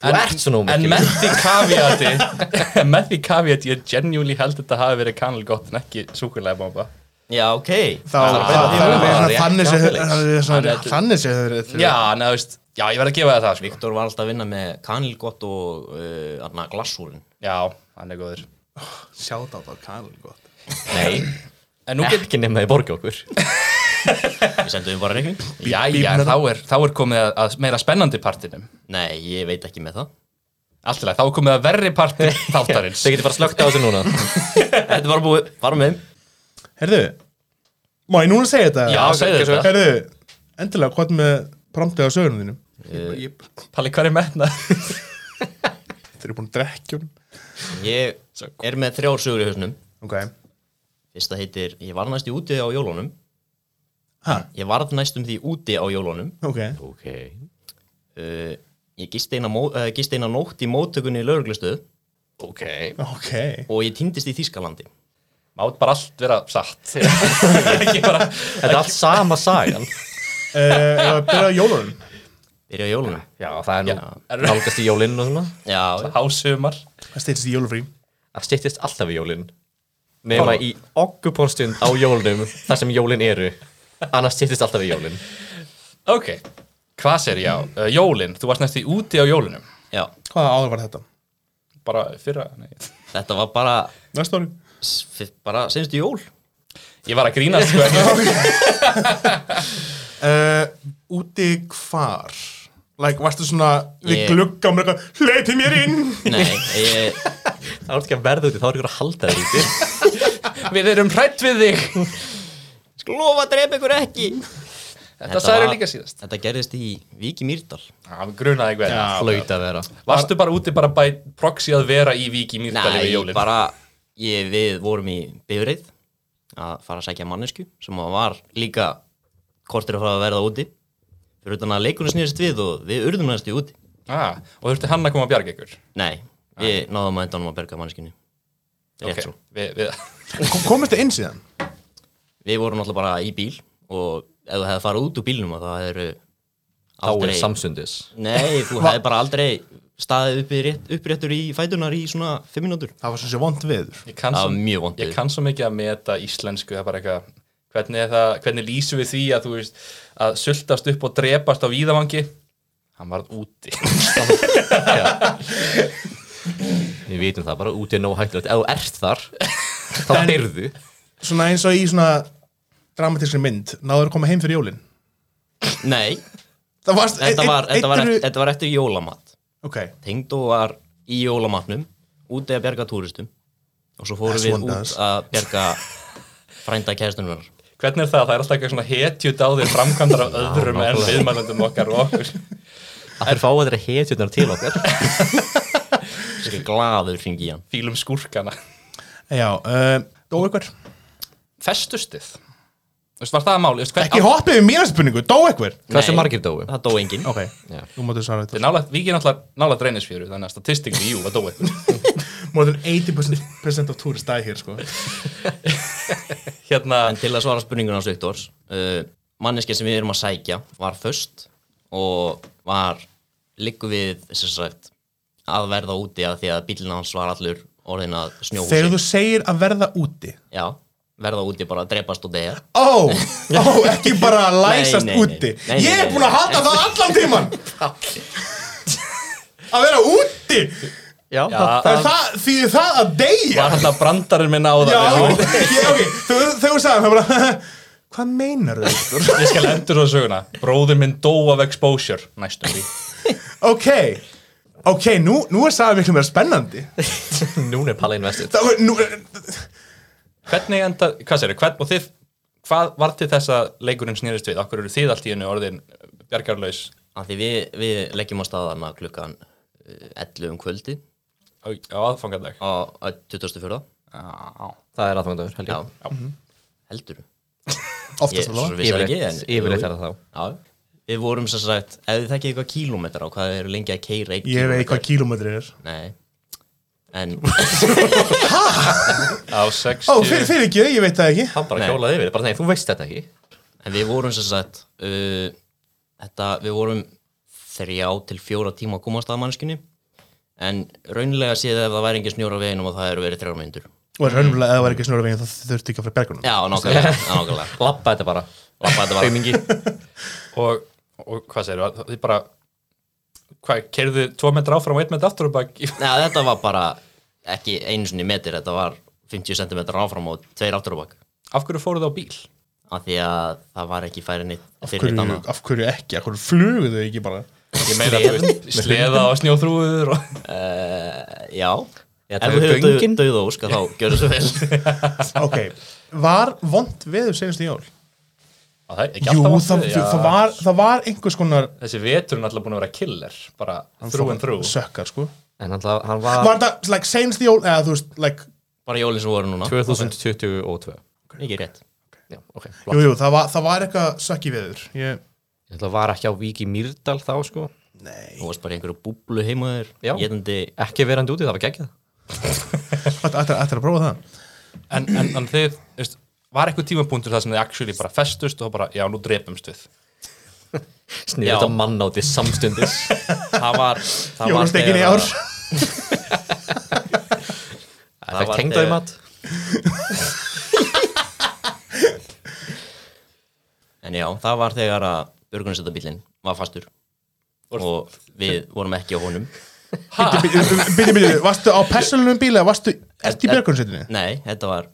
[SPEAKER 2] Þú ert svona
[SPEAKER 5] En
[SPEAKER 2] ómerkileg
[SPEAKER 5] með því kaviati með því kaviati ég genuinely held að þetta hafi verið kanal gott en ekki súkulega bomba
[SPEAKER 6] Já, ok
[SPEAKER 3] Þá það- það er
[SPEAKER 2] Já,
[SPEAKER 3] svona Þannig
[SPEAKER 2] rétt
[SPEAKER 3] sé
[SPEAKER 2] hjá
[SPEAKER 3] það er svona- Þannig sé það er-
[SPEAKER 5] Já, neða, veist, já, ég verð að gefa það það sko.
[SPEAKER 6] Viktor var alltaf að vinna með kanilgott og uh, glassúrin
[SPEAKER 5] Já, hann er góður
[SPEAKER 3] Sjáta á kanal gott
[SPEAKER 2] Nei,
[SPEAKER 5] En nú get,
[SPEAKER 2] ekki nema þið borgi okkur
[SPEAKER 6] Ég sendi um bara reikning
[SPEAKER 5] já, já, þá er, þá er komið að, að meira spennandi partinum
[SPEAKER 6] Nei, ég veit ekki með það
[SPEAKER 5] Allt í lagi, þá er komið að verri partur þáttarins
[SPEAKER 2] Þið getur bara slögt á þessu núna
[SPEAKER 6] Þetta var búið, fara með þeim.
[SPEAKER 3] Herðu, má ég núna segja þetta?
[SPEAKER 5] Já, segðu þetta.
[SPEAKER 3] Herðu, endilega, hvað með promptið á sögunum þínum? Ég, ég,
[SPEAKER 5] Palli, hvað er metna?
[SPEAKER 3] þeir eru búin að drekja honum.
[SPEAKER 6] Ég er með þrjár sögur í hausnum
[SPEAKER 3] Ok,
[SPEAKER 6] Fyrsta heitir, ég varð næst í úti á jólunum
[SPEAKER 3] ha,
[SPEAKER 6] Ég varð næstum því úti á jólunum
[SPEAKER 3] ok,
[SPEAKER 2] Ok
[SPEAKER 6] uh, Ég gist eina, mó, uh, gist eina nótt í móttökunni í lauruglustöð
[SPEAKER 2] Ok
[SPEAKER 3] ok. Eh,
[SPEAKER 6] og ég týndist í Þískalandi
[SPEAKER 5] Mátt bara allt vera satt Ekki bara
[SPEAKER 2] Þetta er allt sama sagan
[SPEAKER 3] Uh, ef að byrja á jólunum.
[SPEAKER 6] Byrja á jólunum
[SPEAKER 2] Já, það er nú nálgast í jólinn og svona
[SPEAKER 6] Já,
[SPEAKER 5] hásumar
[SPEAKER 3] Það styrst í jólufrí.
[SPEAKER 2] Það styttist alltaf í jólinn Nefna í okkuponstund á jólnum þar sem jólinn eru Annars styttist alltaf í jólinn
[SPEAKER 5] Ok, hvað sér ég á? Uh, jólin, þú varst næstu úti á jólunum
[SPEAKER 6] já,
[SPEAKER 3] Hvaða áður var þetta?
[SPEAKER 5] Bara fyrra, nei
[SPEAKER 6] þetta var bara
[SPEAKER 3] Næsta ári.
[SPEAKER 6] s- f- bara senstu jól
[SPEAKER 5] Ég var að grína sko
[SPEAKER 3] Uh, úti hvar? Like, varstu svona við
[SPEAKER 6] Ég-
[SPEAKER 3] glugga um eitthvað, hleypi mér inn!
[SPEAKER 6] Nei, ég,
[SPEAKER 2] Það er ekki að verða úti, þá er ykkur að halda þér úti
[SPEAKER 5] Við erum hrætt við þig
[SPEAKER 6] sko lofa að drepa ykkur ekki
[SPEAKER 5] Þetta sagður líka síðast
[SPEAKER 6] Þetta gerðist í Víki Mýrdal
[SPEAKER 5] Já, við grunaði eitthvað
[SPEAKER 2] Flöyt að vera
[SPEAKER 5] Varstu bara úti bara bæ proxy að vera í Vík í Mýrdali við
[SPEAKER 6] Nei,
[SPEAKER 5] jólin
[SPEAKER 6] bara ég, við vorum í bifreið að fara að sækja mannesku sem að var líka kortir að fara að verða úti fyrir utan að leikunum snýðist við og við urðum næstu úti
[SPEAKER 5] ah, Og þurfti hann að koma að bjarga ykkur
[SPEAKER 6] Nei, við náðum að endanum að berga manneskinu Rétt
[SPEAKER 5] Ok,
[SPEAKER 6] svo
[SPEAKER 5] við, við,
[SPEAKER 3] Kom- Komist það inn síðan?
[SPEAKER 6] Við vorum náttúrulega bara í bíl og ef þú hefði farið út úr bílnum að það eru
[SPEAKER 2] Þá
[SPEAKER 6] aldrei
[SPEAKER 2] er samsundis
[SPEAKER 6] Nei, þú hefði bara aldrei staðið uppi rétt, uppréttur í fætunar í svona 5 mínútur
[SPEAKER 3] Það var svona vond veður.
[SPEAKER 5] Ég kann,
[SPEAKER 6] Það
[SPEAKER 5] svo,
[SPEAKER 6] var mjög vont
[SPEAKER 5] ég
[SPEAKER 6] veður.
[SPEAKER 5] kann svo mikið að meta íslensku það er bara eitthvað hvernig, er það, hvernig lýsum við því að þú veist að sultast upp og drepast á víðavangi hann varð úti
[SPEAKER 2] Við vitum það bara, úti er nóg hættulegt Ef þú ert þar, þá byrðu
[SPEAKER 3] Svona eins og í svona dramatískri mynd, náður að koma heim fyrir jólinn.
[SPEAKER 6] Nei,
[SPEAKER 3] Það varst,
[SPEAKER 6] þetta var,
[SPEAKER 3] einn-
[SPEAKER 6] þetta var,
[SPEAKER 3] einn-
[SPEAKER 6] þetta var eftir jólamat
[SPEAKER 3] Ok,
[SPEAKER 6] Tengdó var í jólamatnum úti að bjarga túristum og svo fórum
[SPEAKER 3] That's
[SPEAKER 6] við
[SPEAKER 3] one
[SPEAKER 6] út
[SPEAKER 3] dance.
[SPEAKER 6] að bjerga frænda kæðstunum
[SPEAKER 5] hvernig er það, það er alltaf eitthvað svona hetjut á þér framkvæmdar af öðrum en viðmælundum okkar og okkur
[SPEAKER 2] Að þeir fá að þeirra hetjurnar til okkar
[SPEAKER 6] sem glaður hringi í hann
[SPEAKER 5] fílum skúrkana
[SPEAKER 3] Já, uh, dó ykkur
[SPEAKER 5] festustið Þú veist, var það máli, Þú veist,
[SPEAKER 3] Ekki
[SPEAKER 5] hver,
[SPEAKER 3] hoppið við mína spurningu, dó ykkur
[SPEAKER 2] Hversu
[SPEAKER 6] Nei,
[SPEAKER 2] margir dóu?
[SPEAKER 6] Það dó enginn
[SPEAKER 3] Ok,
[SPEAKER 2] Já.
[SPEAKER 3] þú máttu svara
[SPEAKER 5] á,
[SPEAKER 3] þetta
[SPEAKER 5] nálægt, við ekki náttúrulega nálægt reynisfjöru þannig að statistikli, jú, að dói
[SPEAKER 3] More than 80% of tourists die here, sko
[SPEAKER 5] hérna,
[SPEAKER 6] En til að svara spurningun hans Viktors uh, manneskja sem við erum að sækja var föst og var liggu við sem sagt að verða úti að því að bílina hans var allur orðin að snjóhúsi
[SPEAKER 3] Þegar þú segir að verða úti
[SPEAKER 6] Já, verða úti bara að drepast og deyja
[SPEAKER 3] Ó, ó, ekki bara að
[SPEAKER 6] Nei,
[SPEAKER 3] læsast
[SPEAKER 6] nei, nei.
[SPEAKER 3] úti
[SPEAKER 6] Nei, nei,
[SPEAKER 3] Ég er
[SPEAKER 6] nei,
[SPEAKER 3] búin að hata það allan tíman Að vera úti
[SPEAKER 2] Já,
[SPEAKER 3] Það er það, því það að deyja
[SPEAKER 5] var þetta brandarinn minn á
[SPEAKER 3] Já,
[SPEAKER 5] það
[SPEAKER 3] ég, ok, þegar þegar þú sagði það bara Hvað meinar þau?
[SPEAKER 5] ég skal endur á söguna bróðir minn dó af exposure næstum því
[SPEAKER 3] Ok, ok, nú, nú er sagði miklu meira spennandi
[SPEAKER 2] Núna er Palla investið
[SPEAKER 3] Það var, nú,
[SPEAKER 5] Hvernig enda, hvað sér, hvern, og þið, hvað var til þess að leikurinn snýrist við? Akkur eru þið allt í hennu orðin bjargarlaus?
[SPEAKER 6] að því við, við leggjum á staðana klukkan eh, 11 um kvöldi
[SPEAKER 5] Á á aðfangardag.
[SPEAKER 6] á á 24.
[SPEAKER 2] Það er aðfangandagur, held
[SPEAKER 6] Já,
[SPEAKER 2] ég
[SPEAKER 6] heldur Ég
[SPEAKER 3] Oftast
[SPEAKER 6] er
[SPEAKER 3] alveg
[SPEAKER 6] svo viss ekki en
[SPEAKER 2] Yfirleitt- Yfirleitt er það þá
[SPEAKER 6] Já, við vorum sem sagt ef þið þekkið eitthvað kílómetra og hvað þið eru lengi að keira einn
[SPEAKER 3] Ég veit
[SPEAKER 6] kílómetra-
[SPEAKER 3] hvað kílómetri er
[SPEAKER 6] Nei, en
[SPEAKER 5] Á 60...
[SPEAKER 3] Ó, fyrir, fyrir ekki, ég veit það ekki
[SPEAKER 2] Hann bara
[SPEAKER 6] Nei.
[SPEAKER 2] hjólaði yfir, bara nei, þú veist þetta ekki
[SPEAKER 6] En við vorum sem sagt uh, þetta, við vorum þrjá til fjóra tíma að komast að mannskunni en raunlega séð ef það væri engin snjór á veginum og það eru verið þrjár myndur
[SPEAKER 3] Og raunverulega, ef það var ekki snurra veginn, það þurfti ekki að fara bergunum
[SPEAKER 6] Já, nákvæmlega, já, nákvæmlega
[SPEAKER 2] Lappa þetta bara
[SPEAKER 6] Labba þetta bara.
[SPEAKER 2] Aumingi
[SPEAKER 5] Og, og hvað sér, þið bara, hvað, kerðu tvo metra áfram og einn metra aftur og bara...
[SPEAKER 6] Nei, þetta var bara ekki einu sinni metir, þetta var 50 cm áfram og tveir aftur á bak
[SPEAKER 5] Af hverju fóruð það á bíl?
[SPEAKER 6] af því að það var ekki færi neitt
[SPEAKER 3] Af
[SPEAKER 6] fyrir neitt
[SPEAKER 3] hverju,
[SPEAKER 6] annað
[SPEAKER 3] af hverju ekki, af hverju flugu þau ekki bara
[SPEAKER 5] Ég meina, þú veist, sleða og snjóþrúður og...
[SPEAKER 6] Já
[SPEAKER 2] Eða
[SPEAKER 6] Ef þú
[SPEAKER 2] taka
[SPEAKER 6] hefur
[SPEAKER 2] göngin?
[SPEAKER 6] döð ósk að þá gjörðu svo vel
[SPEAKER 3] ok, var vond veður senastu jól?
[SPEAKER 5] Á, það er ekki
[SPEAKER 3] Jú,
[SPEAKER 5] alltaf vont
[SPEAKER 3] það,
[SPEAKER 5] veður, já.
[SPEAKER 3] það, var, það var einhvers konar
[SPEAKER 5] Þessi vetur er náttúrulega búin að vera killer, bara þrú en þrú.
[SPEAKER 3] sökkar, sko
[SPEAKER 2] En alltaf, hann var,
[SPEAKER 3] Var þetta, like, senastu jól, eða þú veist, like
[SPEAKER 6] Bara jólinn sem voru núna
[SPEAKER 2] 2022
[SPEAKER 6] Ekki rétt
[SPEAKER 2] Já, ok, flott
[SPEAKER 3] Jú, jú, það var, það var eitthvað sökki veður Ég,
[SPEAKER 2] Ég ætla að var ekki á Vík í Mýrdal þá sko
[SPEAKER 6] Þú varst bara í einhverju búblu heima þér
[SPEAKER 2] Já.
[SPEAKER 6] Getandi
[SPEAKER 2] Ekki verandi úti, það var geggjað
[SPEAKER 3] ætlar, ætlar, ætlar að prófa það
[SPEAKER 5] En, en, en þið, þú veist, var eitthvað tímapunktur það sem þið actually bara festust og bara, já, nú drepumst við.
[SPEAKER 2] Snýður
[SPEAKER 6] Já.
[SPEAKER 2] þetta mann áti samstundis
[SPEAKER 6] Það var það var
[SPEAKER 3] Jólastekin í
[SPEAKER 6] þegar
[SPEAKER 3] ár
[SPEAKER 6] að-
[SPEAKER 2] Það fekk
[SPEAKER 6] var
[SPEAKER 2] tengda í
[SPEAKER 6] þegar-
[SPEAKER 2] mat
[SPEAKER 6] En já, það var þegar að Björgunarsöndabílinn var fastur Og við vorum ekki á honum
[SPEAKER 3] Bíti, bíti, varstu á persónunum bíla, varstu, ertu í björgunsveitinni?
[SPEAKER 6] Nei, þetta var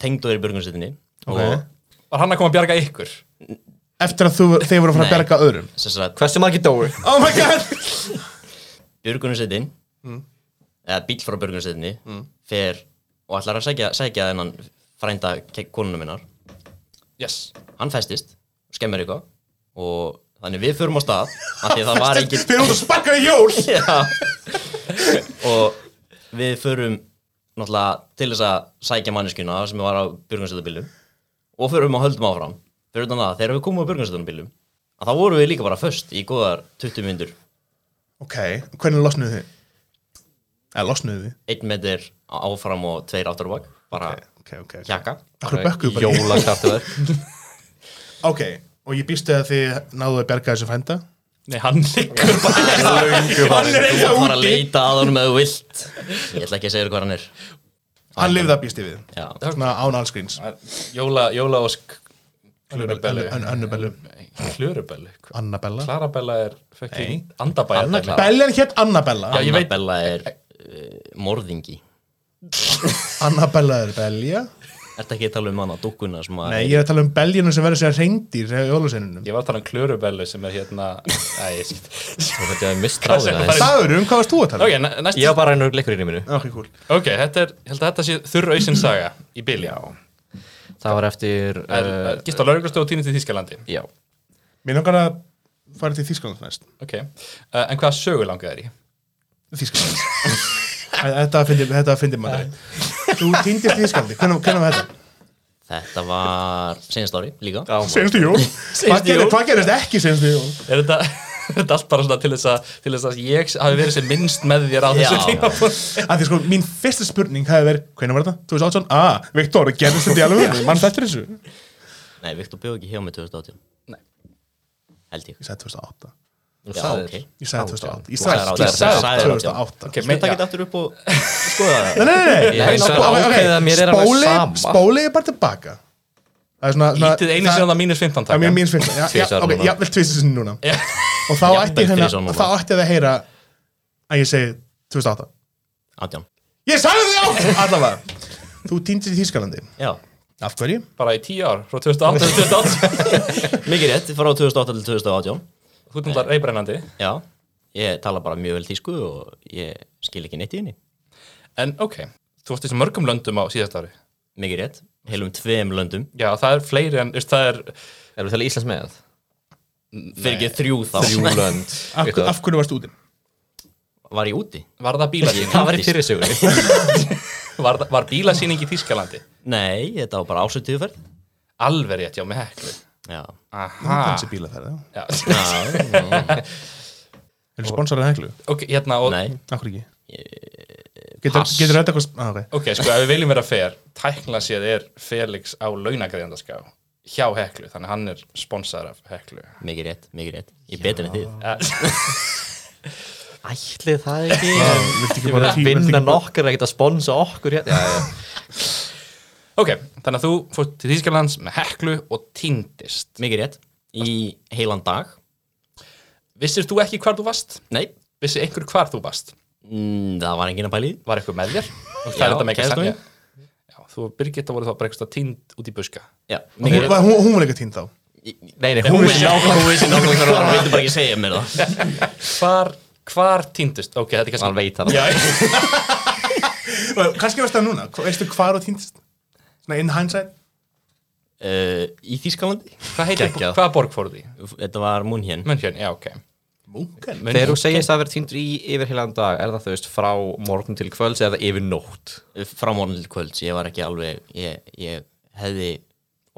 [SPEAKER 6] tengdur í björgunarsöndinni
[SPEAKER 3] Ok.
[SPEAKER 6] Og
[SPEAKER 5] Var hann að koma að bjarga ykkur?
[SPEAKER 3] Eftir að þú, þeir voru að fara að
[SPEAKER 6] Nei.
[SPEAKER 3] berga öðrum
[SPEAKER 6] sem sagt
[SPEAKER 2] Hversu margir dói?
[SPEAKER 3] Oh my god
[SPEAKER 6] björgunarsveitin eða bíl frá björgunarsveitinni fer og ætlar að sækja, sækja þennan frænda ke- konunum minnar
[SPEAKER 5] Yes.
[SPEAKER 6] hann festist, skemmir eitthvað og þannig við förum á stað af því að það var engin
[SPEAKER 3] Þeir voru að sparka í jól
[SPEAKER 6] Já. og við förum náttúrulega til þess að sækja manneskuna sem var á björgunarsveitabílum og förum og höldum áfram fyrir utan það, þegar við komum á björgunarsveitabílum að þá vorum við líka bara föst í góðar 20 myndur
[SPEAKER 3] Ok, hvernig losnuðu þið? Eða losnuðu þið?
[SPEAKER 6] einn metr áfram og tveir aftur á bak bara
[SPEAKER 3] Ok, ok, ok
[SPEAKER 6] hjakka
[SPEAKER 3] Akkur bökkuðu bara í
[SPEAKER 2] Jólakraftuverk
[SPEAKER 3] Ok, og ég býstu að þið náðu að berga þessu frænda
[SPEAKER 5] Nei, hann liggur bara.
[SPEAKER 6] Þú er að fara að leita að honum eða þú vilt Ég ætla ekki að segja þér hvað hann er
[SPEAKER 3] Hann lifði að býstu við
[SPEAKER 6] Já,
[SPEAKER 3] Svona án allskrýns
[SPEAKER 5] Jóla, jóla og sk... Klurubellu.
[SPEAKER 3] Annabellu
[SPEAKER 5] Klurubellu.
[SPEAKER 3] Annabella
[SPEAKER 5] Klarabella er fucking andabæja.
[SPEAKER 6] Anna Clara.
[SPEAKER 3] Bellan hétt Annabella
[SPEAKER 5] Já, ég veit-
[SPEAKER 6] Annabella er uh, morðingi
[SPEAKER 3] Annabella er belja
[SPEAKER 6] Ertu ekki að tala um hana, dukkuna sem að
[SPEAKER 3] Nei, ég er að tala um beljunum sem verður sér reyndir í jólaseinunum.
[SPEAKER 5] Ég var að tala um klurubellu sem er hérna... Æ, ég skil.
[SPEAKER 2] Þú veit að mist ráðina
[SPEAKER 5] Hvað
[SPEAKER 2] þess
[SPEAKER 3] Dagur, um hvað varst þú að tala?
[SPEAKER 5] Ok, næ- næst
[SPEAKER 2] Ég var bara einhver leikurinn í minu
[SPEAKER 3] Ok, cool.
[SPEAKER 5] Ok, þetta er, ég held að þetta sé þurra auðsinn saga í bíli. Já.
[SPEAKER 2] Það var eftir
[SPEAKER 5] Er,
[SPEAKER 2] uh,
[SPEAKER 5] er, gist á lauruglustöð og týnist í Þískalandi.
[SPEAKER 2] Já
[SPEAKER 3] Mér langar að fara til Þískland næst.
[SPEAKER 5] Ok. Uh, en hvaða sögu langað er í?
[SPEAKER 3] Þískland. þetta fyndi, þetta fyndi maður. Þú týndist í Þísklandi, hvernig, hvernig var þetta?
[SPEAKER 6] Þetta var senast ári líka
[SPEAKER 3] Senstu jól. Hvað gerist- hvað gerist ekki senstu jól?
[SPEAKER 5] Er þetta, er þetta allt bara svona til þess að, til þess að ég hafi verið sem minnst með þér á þessu
[SPEAKER 6] Já.
[SPEAKER 5] tíma?
[SPEAKER 3] Af því sko, mín fyrsta spurning hefði verið, hvernig var þetta? 2018? Ah, Viktor, gerðist þetta í alveg? Mann þetta þessu?
[SPEAKER 6] Nei, Viktor bjóð ekki hjá mig 2018
[SPEAKER 5] Nei.
[SPEAKER 6] Held ég
[SPEAKER 3] Ég sagði 2008.
[SPEAKER 2] Þú
[SPEAKER 6] Já,
[SPEAKER 2] sagðir.
[SPEAKER 6] ok
[SPEAKER 3] Ég sagði 2008. Ég
[SPEAKER 6] sagðir
[SPEAKER 3] sagði
[SPEAKER 6] átján. Sagðir átján.
[SPEAKER 3] 2008.
[SPEAKER 5] Ok,
[SPEAKER 6] Ég
[SPEAKER 5] með
[SPEAKER 6] takk
[SPEAKER 5] takit
[SPEAKER 6] þetta aftur upp og skoða það
[SPEAKER 3] Nei, nei, nei,
[SPEAKER 2] Ég hef
[SPEAKER 3] Ok, ok,
[SPEAKER 2] ákveðið að mér er alveg
[SPEAKER 3] spóli-
[SPEAKER 2] sama.
[SPEAKER 3] Spólið er bara tilbaka Það er svona, svona
[SPEAKER 5] Ítið einu
[SPEAKER 3] það-
[SPEAKER 5] sinna á mínus 15
[SPEAKER 3] Það er
[SPEAKER 5] taka.
[SPEAKER 3] mér mínus 15 Já, já,
[SPEAKER 2] Tvisvar
[SPEAKER 3] ok,
[SPEAKER 2] núna.
[SPEAKER 3] já, vel tvisar sinni núna
[SPEAKER 5] Já.
[SPEAKER 3] Og þá
[SPEAKER 6] Jafnvel
[SPEAKER 3] ætti hérna,
[SPEAKER 6] tvisvar núna.
[SPEAKER 3] þá ætti það að heyra að ég segi 2008
[SPEAKER 6] Átján
[SPEAKER 3] Ég sagði þið á! Allavega, þú týndist í Þýskalandi
[SPEAKER 6] Já,
[SPEAKER 3] Af hverju?
[SPEAKER 5] Bara í 10 ár, frá 2008 til 2008.
[SPEAKER 6] mikið rétt, frá 2008 til 2018
[SPEAKER 5] Þú ert náttúrulega reybrennandi.
[SPEAKER 6] Já, ég tala bara mjög vel þýsku og ég skil ekki neitt í henni
[SPEAKER 5] En ok, þú varst í svo mörgum löndum á síðast ári.
[SPEAKER 6] Mikið rétt, heilum tveim löndum
[SPEAKER 5] Já, það er fleiri en, þú veist, það er...
[SPEAKER 2] Erum við að tala Íslands með?
[SPEAKER 6] Fyrir ekki þrjú þá
[SPEAKER 2] Júlönd
[SPEAKER 3] Af, hver- af hverju varst úti?
[SPEAKER 6] Var ég úti?
[SPEAKER 5] Var það bílasýning?
[SPEAKER 2] Það var í fyrirsögunni
[SPEAKER 5] Var, það- var bílasýning í Þískalandi?
[SPEAKER 6] Nei, þetta var bara ásöktuðuferð
[SPEAKER 5] Alveg rétt, já, með heklu.
[SPEAKER 6] Já,
[SPEAKER 5] Aha.
[SPEAKER 3] Hansi bílaferð, já
[SPEAKER 5] Já.
[SPEAKER 3] Er það sponsorað heglu?
[SPEAKER 5] Ok, hérna og...
[SPEAKER 6] nei,
[SPEAKER 3] Af hverju ekki?
[SPEAKER 2] Eh,
[SPEAKER 3] Getur getur þetta eitthvað ah, okay.
[SPEAKER 5] Ok, sko, ef við viljum vera fair, tækla séð er Felix á launagreðandaská hjá Heklu, þannig að hann er sponsor af Heklu. Eh,
[SPEAKER 6] mikið rétt, mikið rétt Ég er betur en þið
[SPEAKER 5] Ja,
[SPEAKER 2] Ætli það ekki
[SPEAKER 3] Viltu
[SPEAKER 2] Ég
[SPEAKER 3] ekki
[SPEAKER 2] verið
[SPEAKER 3] bara
[SPEAKER 2] að
[SPEAKER 3] viltu ekki
[SPEAKER 2] vinna
[SPEAKER 3] bara-
[SPEAKER 2] nokkur ekkert að sponsa okkur hérna Já, já
[SPEAKER 5] ok, þannig að þú fórst til Þýskalands með Heklu og týndist.
[SPEAKER 6] Mikið rétt, í heilan dag
[SPEAKER 5] Vissir þú ekki hvar þú varst?
[SPEAKER 6] Nei,
[SPEAKER 5] Vissir einhver hvar þú varst?
[SPEAKER 6] mm, það var enginn að pæli í því.
[SPEAKER 5] Var eitthvað með þér? Og það
[SPEAKER 6] Já,
[SPEAKER 5] er þetta með ekki
[SPEAKER 6] kærastan
[SPEAKER 5] sannja. Já, þú og Birgitta voru þá bara eitthvað tínd út í buska.
[SPEAKER 6] Já,
[SPEAKER 3] Hún
[SPEAKER 6] mikið rétt
[SPEAKER 3] var- hún- hún var líka týnd þá
[SPEAKER 6] Nei, nei, hún vissi nákvæmlega Hún vissi nákvæmlega hvað það var, hún vildi bara ekki segja mér það
[SPEAKER 5] Hvar, hvar týndist? Ok, þetta er kannski
[SPEAKER 2] hann veit það
[SPEAKER 3] Og kannski veist það núna, hva- veistu hvað þú týndist? Svona in hindsight
[SPEAKER 6] uh, Í Þískalandi?
[SPEAKER 5] Hvað heitir,
[SPEAKER 6] Geggjað.
[SPEAKER 5] hvaða borg fóruð í?
[SPEAKER 6] Þetta var Munhjön
[SPEAKER 5] Mönchjörn, já, ok
[SPEAKER 3] Munken
[SPEAKER 5] München.
[SPEAKER 2] Þegar þú segist að vera týndur í yfir heilan dag er það þú veist frá morgun til kvölds eða yfir nótt
[SPEAKER 6] Frá morgun til kvölds, ég var ekki alveg Ég, ég hefði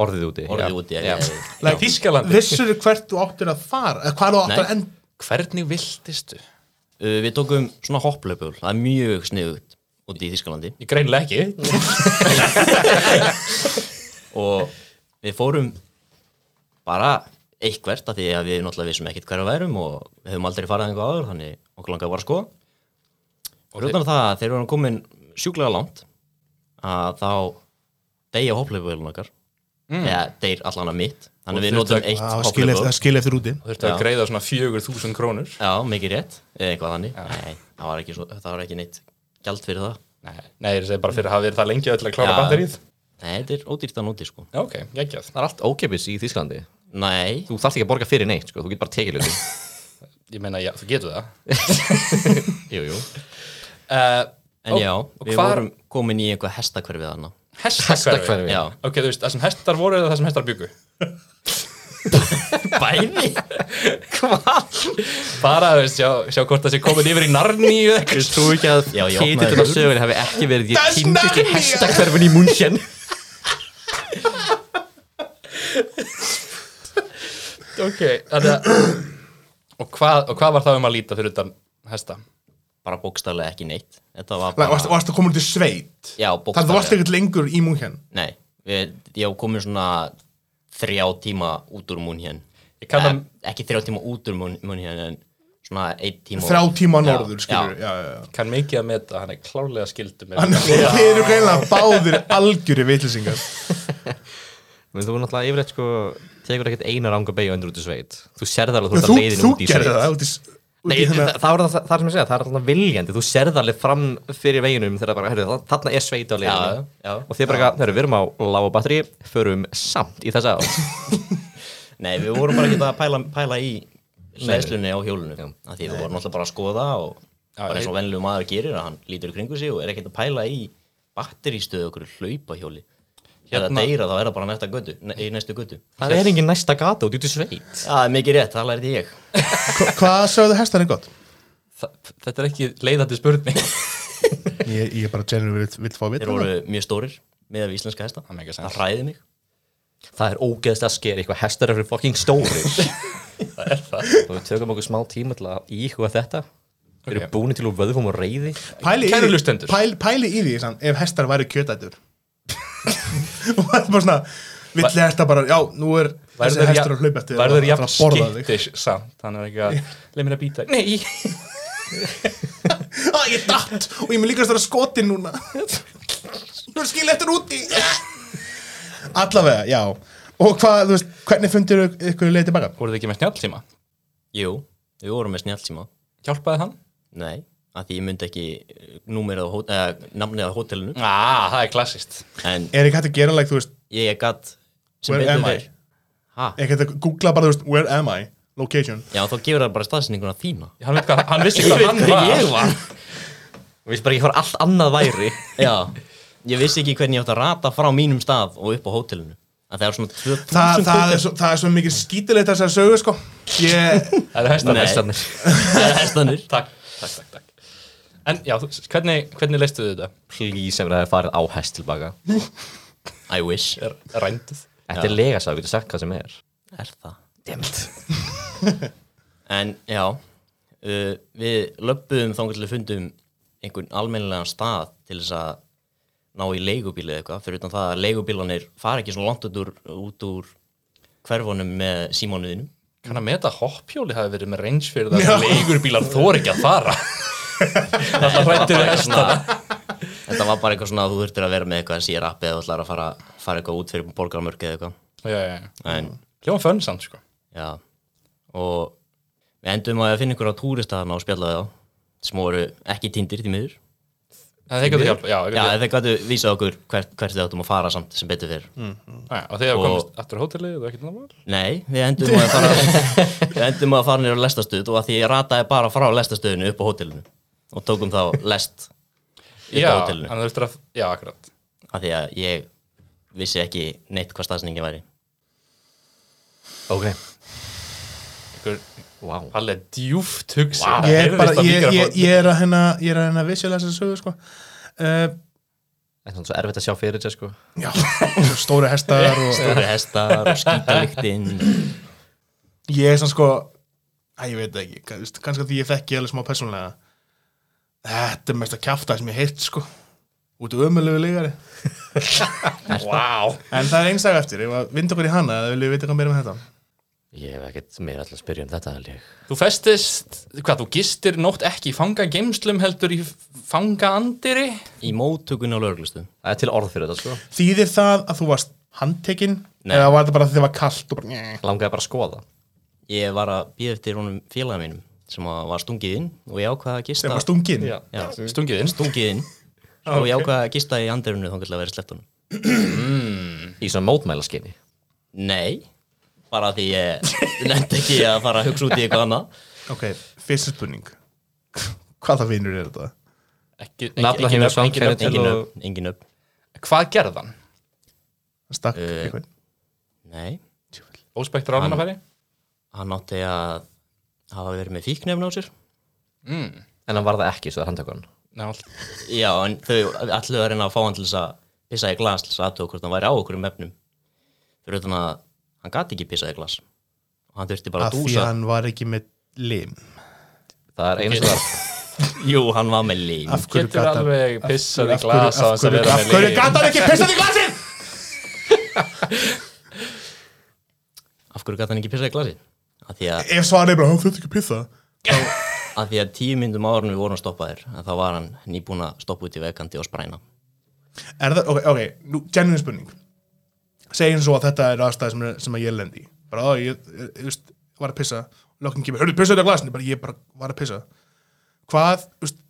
[SPEAKER 2] orðið úti
[SPEAKER 6] orðið
[SPEAKER 2] Já.
[SPEAKER 6] úti ef
[SPEAKER 2] Já.
[SPEAKER 6] ég hefði-
[SPEAKER 5] Like, Þískalandi,
[SPEAKER 3] Vissur hvert þú áttir að fara eða hvað þú áttir
[SPEAKER 6] Nei.
[SPEAKER 3] að enda
[SPEAKER 5] hvernig viltistu?
[SPEAKER 6] uh, Við tókum svona hopplöpul Það er mjög sniðugt úti í Þískalandi
[SPEAKER 5] Ég greinlega ekki
[SPEAKER 6] og við fórum bara eitthvert af því að við náttúrulega vissum ekkert hverja værum og við höfum aldrei farið einhver áður þannig okkur langaði bara að skoða og rjóðan það að þegar við erum komin sjúklega langt að þá deyja hopplöfubölun okkar
[SPEAKER 5] Mm.
[SPEAKER 6] eða deyr allan að mitt þannig við notum eitt
[SPEAKER 3] Ah, Það skil eftir,
[SPEAKER 6] hopplöfuböl
[SPEAKER 3] það skil eftir úti
[SPEAKER 5] Þurfti að greiða svona 4.000 krónur
[SPEAKER 6] já, mikið rétt, eða eitthvað þannig nei, það var ekki, svo, það var ekki neitt gjald fyrir það
[SPEAKER 5] Nei, nei, ég segi bara fyrir að hafa verið það lengi öll að klára
[SPEAKER 6] Já.
[SPEAKER 5] batterið
[SPEAKER 6] nei, þetta er ódýrt að noti sko
[SPEAKER 5] Já, ok, geggjað
[SPEAKER 2] Það er allt ókepis í Þýsklandi
[SPEAKER 6] nei,
[SPEAKER 2] Þú þarft ekki að borga fyrir neitt sko, þú getur bara tekið hluti
[SPEAKER 5] Ég meina, já, þú getur það
[SPEAKER 2] Jú, jú
[SPEAKER 5] uh,
[SPEAKER 6] en já,
[SPEAKER 5] og
[SPEAKER 6] við
[SPEAKER 5] hvar-
[SPEAKER 6] vorum komin í einhver hestakverfið hann
[SPEAKER 5] Hestakverfi
[SPEAKER 6] já,
[SPEAKER 5] Ok, þú veist, það sem hestar voru eða það sem hestar byggu
[SPEAKER 6] bæði
[SPEAKER 5] Bara, þú veist, sjá, sjá hvort það sé komin yfir í narni eða eitthvað
[SPEAKER 2] Þú ekki að
[SPEAKER 6] Já, ég opnaði
[SPEAKER 2] títillin á
[SPEAKER 6] hurð.
[SPEAKER 2] sögunni hafi ekki verið ég
[SPEAKER 3] Das
[SPEAKER 2] týndist í
[SPEAKER 3] Narnia!
[SPEAKER 2] hestakverfun í München
[SPEAKER 5] Ok, þannig að og hvað, og hvað var það um að líta fyrir utan hesta?
[SPEAKER 6] bara bókstaflega ekki neitt þetta var bara,
[SPEAKER 3] Varst það komin til sveit
[SPEAKER 6] já,
[SPEAKER 3] Það varst
[SPEAKER 6] bókstaflega
[SPEAKER 3] ekkert lengur í Munken
[SPEAKER 6] nei, við, ég hef komin svona þrjá tíma út úr mún hér
[SPEAKER 5] Ég kann það-
[SPEAKER 6] ekki þrjá tíma út úr mún, mún hér en svona eitt tíma
[SPEAKER 3] Þrjá tíma
[SPEAKER 6] Já,
[SPEAKER 3] norður, skilur já, já, já.
[SPEAKER 5] Kann mikið að meta, hann er klárlega skildur með
[SPEAKER 3] Þannig að Þið eru greinlega báðir algjöri vitlisingar
[SPEAKER 2] Men þú náttúrulega yfirleitt sko tekur ekkert eina ranga beigja undir út í sveit Þú sérð alveg þú ert
[SPEAKER 3] Þú,
[SPEAKER 2] að leiðin
[SPEAKER 3] þú
[SPEAKER 2] út í sveit
[SPEAKER 3] gerði það út í, s- út
[SPEAKER 2] Nei,
[SPEAKER 3] í
[SPEAKER 2] það,
[SPEAKER 3] þennan-
[SPEAKER 2] það, var það, það sem ég segja, það er alltaf viljandi Þú sérð alveg fram fyrir veginum þegar bara, heyrðu, þa- þarna er sveit á leiðinu
[SPEAKER 6] Já, já.
[SPEAKER 2] Og þið bara, eitthvað, heyrðu, við erum á lágu batteri, förum samt í þessa á
[SPEAKER 6] nei, við vorum bara ekki að pæla, pæla í hlæðslunni á hjólunum af því við vorum alltaf bara að skoða og bara eins og venlu maður gerir að hann lítur í kringu sig og er ekkert að pæla í batterístöðu okkur hlaupahjóli hérna. eða
[SPEAKER 5] Hérna-
[SPEAKER 6] deyra þá er það bara næsta götu, ne í næstu götu
[SPEAKER 2] Það er engin næsta gata út í sveit
[SPEAKER 6] Já, það er mikið rétt, það lærði ég
[SPEAKER 3] Hva- Hvað sagðu hestarinn gott?
[SPEAKER 5] Þa- Þetta er ekki leiðandi spurning
[SPEAKER 3] Ég, ég bara generið vill fá að
[SPEAKER 6] Þeir
[SPEAKER 3] vita
[SPEAKER 6] voru
[SPEAKER 3] það.
[SPEAKER 6] mjög stórir með við íslenska hesta
[SPEAKER 5] Það make sense.
[SPEAKER 6] Það hræði mig
[SPEAKER 2] Það er ógeðslega að skeri, eitthvað hestar er fyrir fucking stóri Og við tökum okkur smá tíma til að íhuga þetta Við erum
[SPEAKER 5] Ok.
[SPEAKER 2] búin til úr vöðum og reyði
[SPEAKER 3] Pæli í
[SPEAKER 5] Kæru
[SPEAKER 3] því-
[SPEAKER 5] hlustendur.
[SPEAKER 3] pæli, pæli í því sann, ef hestar væri kjötætur og það er bara svona villi hestar bara, já, nú er þessi hestar að hlaupa eftir þér og
[SPEAKER 5] Verður
[SPEAKER 3] ætlar
[SPEAKER 5] jafn
[SPEAKER 3] að borða þig
[SPEAKER 5] skittish samt Hann er ekki að, leið mér að býta Nei,
[SPEAKER 3] Æ, ég datt og ég mun líka að vera skotin núna Nú er skil eftir úti Allavega, já Og hvað, þú veist, hvernig fundir ykkur leið tilbaka?
[SPEAKER 5] voruð þið ekki með snjálfsíma?
[SPEAKER 6] Jú, við vorum með snjálfsíma
[SPEAKER 5] Hjálpaði hann?
[SPEAKER 6] Nei, af því ég myndi ekki eh, númerið á hó- eða namnið á hótelinu
[SPEAKER 5] Ah, það er klassist
[SPEAKER 6] En
[SPEAKER 3] Er ekki hægt að gera like, þú veist,
[SPEAKER 6] ég gatt sem
[SPEAKER 3] where am I?
[SPEAKER 6] fer Ha?
[SPEAKER 3] Er ekki hægt að googla bara, þú veist, where am I? Location
[SPEAKER 6] Já, þá gefur það bara staðsyninguna þína
[SPEAKER 5] Hann, veit hvað, hann vissi hvað hann
[SPEAKER 6] hver
[SPEAKER 5] var
[SPEAKER 6] ég var
[SPEAKER 2] Og við bara ekki hvað allt annað væri
[SPEAKER 6] Já, ég vissi ekki hvernig ég átt að rata frá mínum stað og upp á hótelinu Að það er svona 2000
[SPEAKER 3] Þa, það,
[SPEAKER 6] hótel-
[SPEAKER 3] er svo, það er svo mikið skítilegt þessar sögu, sko Ég,
[SPEAKER 5] Það er hestar
[SPEAKER 6] Nei.
[SPEAKER 5] hestar
[SPEAKER 6] Það er hestanir
[SPEAKER 5] Takk, takk, takk, takk En já, þú- hvernig, hvernig leistuðu þetta?
[SPEAKER 2] Please, ef það er farið á hest tilbaka
[SPEAKER 6] I wish Er,
[SPEAKER 5] Er- Rænduð?
[SPEAKER 2] Þetta er legasa, við getum sagt hvað sem er
[SPEAKER 6] það?
[SPEAKER 2] Demt
[SPEAKER 6] En já, uh, við löppuðum þangar til að fundum einhvern almennilegan stað til þess að ná í leigubíli eða eitthvað, fyrir utan það að leigubílanir fara ekki svona langt út úr, út úr hverfunum með símónuðinu.
[SPEAKER 5] Kann að meta hoppjóli hafi verið með range fyrir það að leigurbílar þor ekki að fara Það hrættir við hestar
[SPEAKER 6] Þetta var bara eitthvað svona að þú þurftir að vera með eitthvað sér appi eða þú ætlar að fara, fara eitthvað út fyrir borgarmörk eða eitthvað.
[SPEAKER 5] Já, já, já
[SPEAKER 6] En
[SPEAKER 5] Hljóma fönnsand, sko
[SPEAKER 6] já, og við endum að finna einhverja túrista þarna og spjalla við þá, sem voru ekki tindir því miður.
[SPEAKER 5] En þeir gætu hjálpa, já, þeir
[SPEAKER 6] Já,
[SPEAKER 5] gætu-
[SPEAKER 6] en þeir gætu vísa okkur hvert, hvert við áttum að fara samt sem betur fyrr.
[SPEAKER 3] Mm.
[SPEAKER 5] já, og þegar
[SPEAKER 6] Og-
[SPEAKER 5] komist aftur á hótelið og ekkert náttúrulega
[SPEAKER 6] Nei, við endum að fara við endum að fara nýra lestastuð og að því ég rataði bara frá lestastöðinu upp á hótelinu og tókum þá lest upp
[SPEAKER 5] Já,
[SPEAKER 6] á
[SPEAKER 5] en
[SPEAKER 6] hótelinu
[SPEAKER 5] þú veist að, já, akkurat
[SPEAKER 6] að því að ég vissi ekki neitt hvað staðsningi væri
[SPEAKER 2] Ok,
[SPEAKER 5] Ykkur,
[SPEAKER 2] vá wow.
[SPEAKER 5] Palli er djúft hugsi
[SPEAKER 3] ég, er bara, ég, ég, ég er að hérna ég er að hérna visualize þessa sögu sko. uh,
[SPEAKER 2] Það er svo erfitt að sjá fyrir sér sko
[SPEAKER 3] já, stóri hestar og
[SPEAKER 6] Stóri hestar og skítalyktin
[SPEAKER 3] ég er svona sko að ég veit það ekki, kann- veist, kannski að því ég þekki alveg smá persónlega þetta er mest að kjafta sem ég heilt sko út ömulegu lígari
[SPEAKER 5] Wow
[SPEAKER 3] en það er einstæg eftir, ég var vind okkur í hana eða viljum við vita hvað meira með þetta
[SPEAKER 2] Ég hef ekkert meira alltaf að spyrja um þetta held ég
[SPEAKER 5] Þú festist, hvað, þú gistir nótt ekki í fangageimslum heldur í fangaandiri
[SPEAKER 6] í móttökunni á lauruglustu
[SPEAKER 2] Það er til orð fyrir þetta sko
[SPEAKER 3] þýðir það að þú varst handtekinn eða var þetta bara þegar það var kallt og bara njæ
[SPEAKER 2] Langaði bara að skoða
[SPEAKER 6] Ég var að býða eftir honum félaga mínum sem að var stungið inn og ég ákvaða að gista
[SPEAKER 3] sem var stungin
[SPEAKER 2] Já.
[SPEAKER 6] Já,
[SPEAKER 3] Mm.
[SPEAKER 5] Stungið inn
[SPEAKER 6] stungið inn og ég ákvaða að gista í andirinu þá að vera sleppt honum
[SPEAKER 2] Í svona mótmælaskinni
[SPEAKER 6] Nei, bara því ég nefndi ekki að fara að hugsa út í eitthvað annað
[SPEAKER 3] ok, fyrsta spurning hvaða vinnur er þetta?
[SPEAKER 5] Ekki, ekki,
[SPEAKER 2] Nafla
[SPEAKER 5] ekki,
[SPEAKER 2] hinn
[SPEAKER 5] nöfn, ekki, nöfn.
[SPEAKER 2] samkennir til
[SPEAKER 6] Engin
[SPEAKER 2] og
[SPEAKER 6] upp, engin upp
[SPEAKER 5] Hvað gerði hann?
[SPEAKER 3] hann stakk
[SPEAKER 6] Eh,
[SPEAKER 3] eitthvað
[SPEAKER 6] Nei,
[SPEAKER 5] Óspektur álunafæri?
[SPEAKER 6] hann átti að hafa verið með fíknefn á sér
[SPEAKER 2] En hann var það ekki, svo það er handtökun
[SPEAKER 5] Ná, all-
[SPEAKER 6] Já, en þau allu að reyna að fá hann til þess að pissa í glas til þess aðtöku hvort hann væri á okkur um efnum fyrir utan að hann gati ekki pissa í glas og hann þurfti bara
[SPEAKER 3] að
[SPEAKER 6] að
[SPEAKER 3] því
[SPEAKER 6] dúsa
[SPEAKER 3] hann var ekki með lim
[SPEAKER 2] Það er einu sem var
[SPEAKER 6] Jú, hann var með lín
[SPEAKER 3] af hverju
[SPEAKER 5] Getur
[SPEAKER 3] gata
[SPEAKER 5] alveg pissað í
[SPEAKER 3] af hverju-
[SPEAKER 5] glasa
[SPEAKER 3] af hverju- af hverju gat hann ekki pissað í glasið?
[SPEAKER 6] Af hverju gati hann ekki pissa í glasi? Af því að,
[SPEAKER 3] ef svarið er bara, hann þurfti ekki að pissa
[SPEAKER 6] af því að tíu myndum árun við vorum stoppaðir að þá var hann nýbúin að stoppa út í vegkandi og spræna
[SPEAKER 3] Er það, ok, ok, nú, genuine spurning segjum svo að þetta er aðstæði sem, er- sem að ég lendi í. bara, ó, ég, ég, ég veist, var að pissa löggan kemur, hörðu, pissa þetta glasinu bara, ég bara var að pissa hvað, þú veist,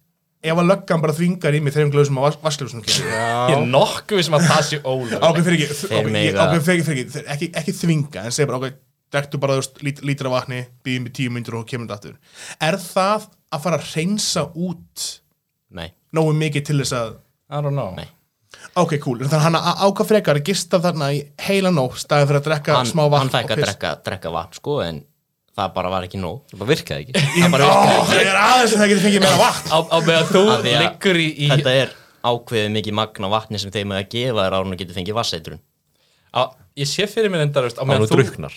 [SPEAKER 3] ef að löggan bara þvingar í mig þeirrum glöðum á vaskljóðsum
[SPEAKER 5] Ég er nokkuð sem að það sé ólög
[SPEAKER 3] ákveð fyrir ekki,
[SPEAKER 6] Þeir
[SPEAKER 3] ákveð
[SPEAKER 6] mega-
[SPEAKER 3] fyrir ekki, fyrir ekki þeir- ekki, ekki þvinga, en segja bara, ok drektu bara, þú veist, lít, lítra vatni býðum í tíu myndur og kemur þetta aftur er það að fara að reynsa út
[SPEAKER 6] Nei,
[SPEAKER 3] nógu mikið til þess að
[SPEAKER 5] I don't know
[SPEAKER 6] Nei.
[SPEAKER 3] Ok, cool. Þannig að hann á- ákvað frekar að gista þarna í heila nótt staðið fyrir að drekka
[SPEAKER 6] hann,
[SPEAKER 3] smá vatn
[SPEAKER 6] hann fekk
[SPEAKER 3] og
[SPEAKER 6] að
[SPEAKER 3] piss.
[SPEAKER 6] drekka, drekka vatn sko en það bara var ekki nóg
[SPEAKER 2] Það bara virkaði ekki
[SPEAKER 3] Ég, ó, ég er aðeins að það getur fengið meira vatn.
[SPEAKER 5] Á, á meðan þú
[SPEAKER 6] Af því að
[SPEAKER 5] liggur í, í
[SPEAKER 6] þetta er ákveðið mikið magna vatni sem þeim að gefa þér árun og getur fengið vasseitrun
[SPEAKER 5] á, Ég sé fyrir mér endar á
[SPEAKER 2] Hann
[SPEAKER 5] meðan
[SPEAKER 2] var
[SPEAKER 5] þú,
[SPEAKER 2] druknar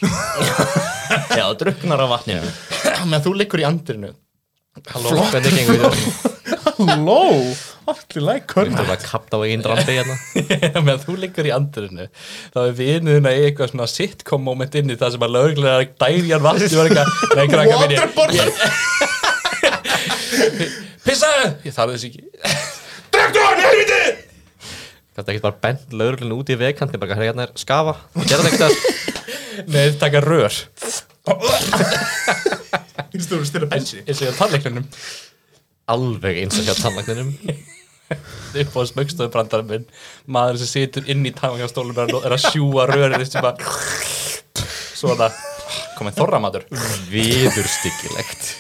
[SPEAKER 6] já, druknar af vatninu
[SPEAKER 5] á meðan þú liggur í andirinu Halló,
[SPEAKER 2] Hvernig gengur þetta?
[SPEAKER 3] Halló, allir lækur.
[SPEAKER 2] Það var að kapta á einn drambi hérna
[SPEAKER 5] á meðan þú liggur í andirinu þá er vinuðina í eitthvað svona sitcom moment inn í það sem að löglega dæriðan vatni var eitthvað Nei, krakka minni,
[SPEAKER 3] Waterboard,
[SPEAKER 5] pissaðu! Ég þarf þess ekki
[SPEAKER 3] drektu hann, helviti!
[SPEAKER 2] Gæti ekkert bara bent lögurlun út í vegkanti bara hérna er skafa Gerða þetta ekkert
[SPEAKER 5] Nei, þeir taka rör
[SPEAKER 3] Þú veist, þú eru styrra bensi.
[SPEAKER 5] Ég sé að tannleiknunum
[SPEAKER 2] alveg eins og hjá tannlagninum
[SPEAKER 5] upp á smögstöðu brandarinn minn maður sem situr inn í tannleikastólum er, að- er að sjúa rörið sem að svona komið þorramatur
[SPEAKER 2] Viðurstyggilegt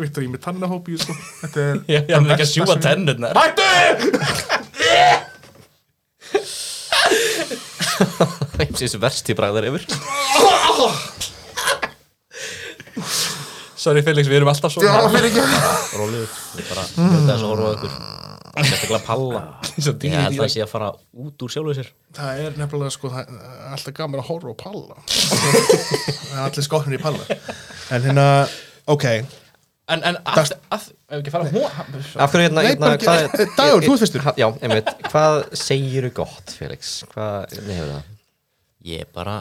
[SPEAKER 3] Viktor, ég er með tannahóp í, sko. Þetta er...
[SPEAKER 5] ég ég er nú ekki að sjúa tennurnar
[SPEAKER 3] Hættu!
[SPEAKER 2] Eins og þessi versti bræðar yfir
[SPEAKER 5] sorry Felix, við erum alltaf svona
[SPEAKER 6] róluður, við bara hluta þess að orfa okkur sérstaklega palla
[SPEAKER 5] Svo
[SPEAKER 6] ég
[SPEAKER 5] dýrið
[SPEAKER 6] held
[SPEAKER 5] í
[SPEAKER 6] það sé að fara út úr sjálfu sér
[SPEAKER 3] Það er nefnilega, sko, það er alltaf gaman að horfa á palla. Það er allir skotnir í palla. En hérna, ok.
[SPEAKER 5] en, en að, að, ef ekki fara hún
[SPEAKER 2] Af hverju hérna,
[SPEAKER 3] Nei,
[SPEAKER 2] hérna
[SPEAKER 3] bara ekki- eh, Dagur, þú ert fyrstur.
[SPEAKER 2] Ha- Já, einmitt Hvað segiru gott, Felix? Hvað, hvernig hefur það?
[SPEAKER 6] ég er bara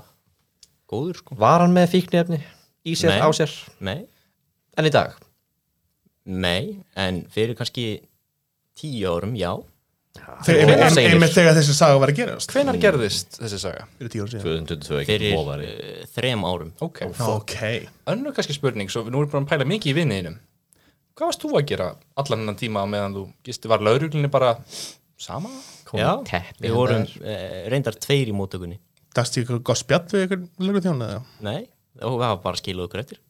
[SPEAKER 6] góður sko
[SPEAKER 2] Var hann með fíknefni? Í sér,
[SPEAKER 6] Nei.
[SPEAKER 2] á sér?
[SPEAKER 6] nei,
[SPEAKER 2] En í dag?
[SPEAKER 6] nei, en fyrir kannski tíu árum, já
[SPEAKER 3] Þegar,
[SPEAKER 2] Og- og
[SPEAKER 3] einmitt,
[SPEAKER 2] segir.
[SPEAKER 3] einmitt þegar þessi saga var að gerast.
[SPEAKER 5] hvenar gerðist þessi saga?
[SPEAKER 3] Fyrir tíu ára síðan.
[SPEAKER 2] 2022
[SPEAKER 6] fyrir uh, þrem árum
[SPEAKER 5] ok,
[SPEAKER 3] Ok.
[SPEAKER 5] önnur kannski spurning svo við nú erum bara að pæla mikið í vinniðinum hvað varst þú að gera allan hennan tíma á meðan þú gisti var lauruglinni bara sama?
[SPEAKER 2] Komum teppi
[SPEAKER 6] við
[SPEAKER 2] handa
[SPEAKER 6] vorum
[SPEAKER 2] þér.
[SPEAKER 6] uh, reyndar tveir í móttökunni
[SPEAKER 3] Dast ég eitthvað gott spjall við ykkur lögur þjóna eða?
[SPEAKER 6] Nei, og við hafa bara skiluð okkur eftir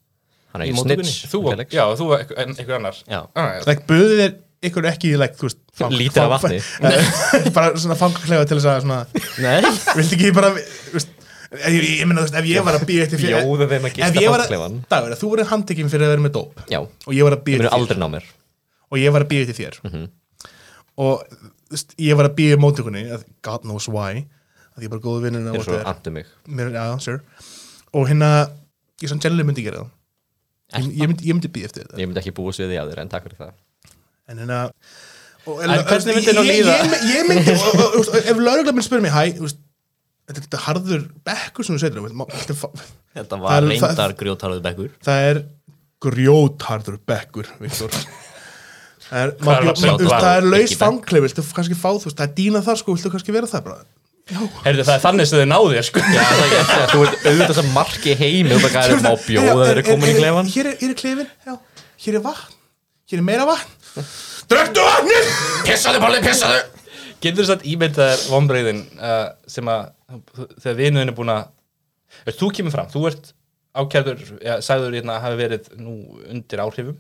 [SPEAKER 2] Hann er
[SPEAKER 6] í
[SPEAKER 2] ekki
[SPEAKER 6] móttökunni.
[SPEAKER 2] snitch
[SPEAKER 5] Þú,
[SPEAKER 2] Felix.
[SPEAKER 5] já, þú og einhver, einhver annar
[SPEAKER 6] Já.
[SPEAKER 5] ah,
[SPEAKER 3] Like, buðið er ykkur ekki like, þú veist, fang-
[SPEAKER 2] Lítið af
[SPEAKER 3] fang- bara svona fangaklefa til þess að svona,
[SPEAKER 6] Nei,
[SPEAKER 3] viltu ekki bara þú veist, ég, ég, ég meina, þú veist, ef ég var að býja eftir fyrir
[SPEAKER 2] Bjóða þeim að gista
[SPEAKER 3] ef ég var
[SPEAKER 2] fangaklefann.
[SPEAKER 3] dagur, ef þú verið handtekinn fyrir að vera með dóp
[SPEAKER 2] Já.
[SPEAKER 3] og ég var að
[SPEAKER 2] Þeir
[SPEAKER 3] býja
[SPEAKER 2] eru aldrei ná mér
[SPEAKER 3] og ég var að býja til þér
[SPEAKER 5] Mhm.
[SPEAKER 3] og þú veist, ég var að býja í mótugunni God knows why að ég er bara góðu vinnur
[SPEAKER 2] Þeir eru svo andu mig
[SPEAKER 3] mér, já, sure. og hérna ég sann generally myndi gera það ég, ég myndi, ég myndi býja eftir þetta
[SPEAKER 2] Ég myndi ekki búa svið í aður en takk fyrir það
[SPEAKER 3] en hérna og,
[SPEAKER 5] En hvernig myndi nú
[SPEAKER 3] ég-
[SPEAKER 5] líða?
[SPEAKER 3] ég, ég, ég myndi, og, og, og, og, ef lögregla minn spyrir mig hæ, þú veist, þetta er þetta harður bekkur sem þú segir þetta, má- þetta er fa-
[SPEAKER 6] þetta
[SPEAKER 3] Það
[SPEAKER 6] var
[SPEAKER 3] er- það-
[SPEAKER 6] reyndar grjótarðu bekkur
[SPEAKER 3] það er grjótharður bekkur Viktor það er,
[SPEAKER 5] er
[SPEAKER 3] maður-
[SPEAKER 5] að segja?
[SPEAKER 3] þú veist, það er laus
[SPEAKER 6] Ekki bekk.
[SPEAKER 3] fangli viltu kannski fá þú veist, það er dýna þar sko, viltu kannski vera það bara
[SPEAKER 5] Heyrðu það er þannig sem þau náðu þér sko
[SPEAKER 2] Já, það er ekki eftir að þú ert auðvitað sem marki heim og það er má bjóða þeir eru komin í klefan
[SPEAKER 3] hér er, hér er klefin, já, hér er vatn hér er meira vatn Dröktu vatnið!
[SPEAKER 5] Pissaðu Palli, pissaðu Getur þess að ímynda þér vonbreiðin uh, sem að þegar vinuðin er búin að Veist, þú kemur fram, þú ert ákjæður ja, sagður hérna að hafi verið nú undir áhrifum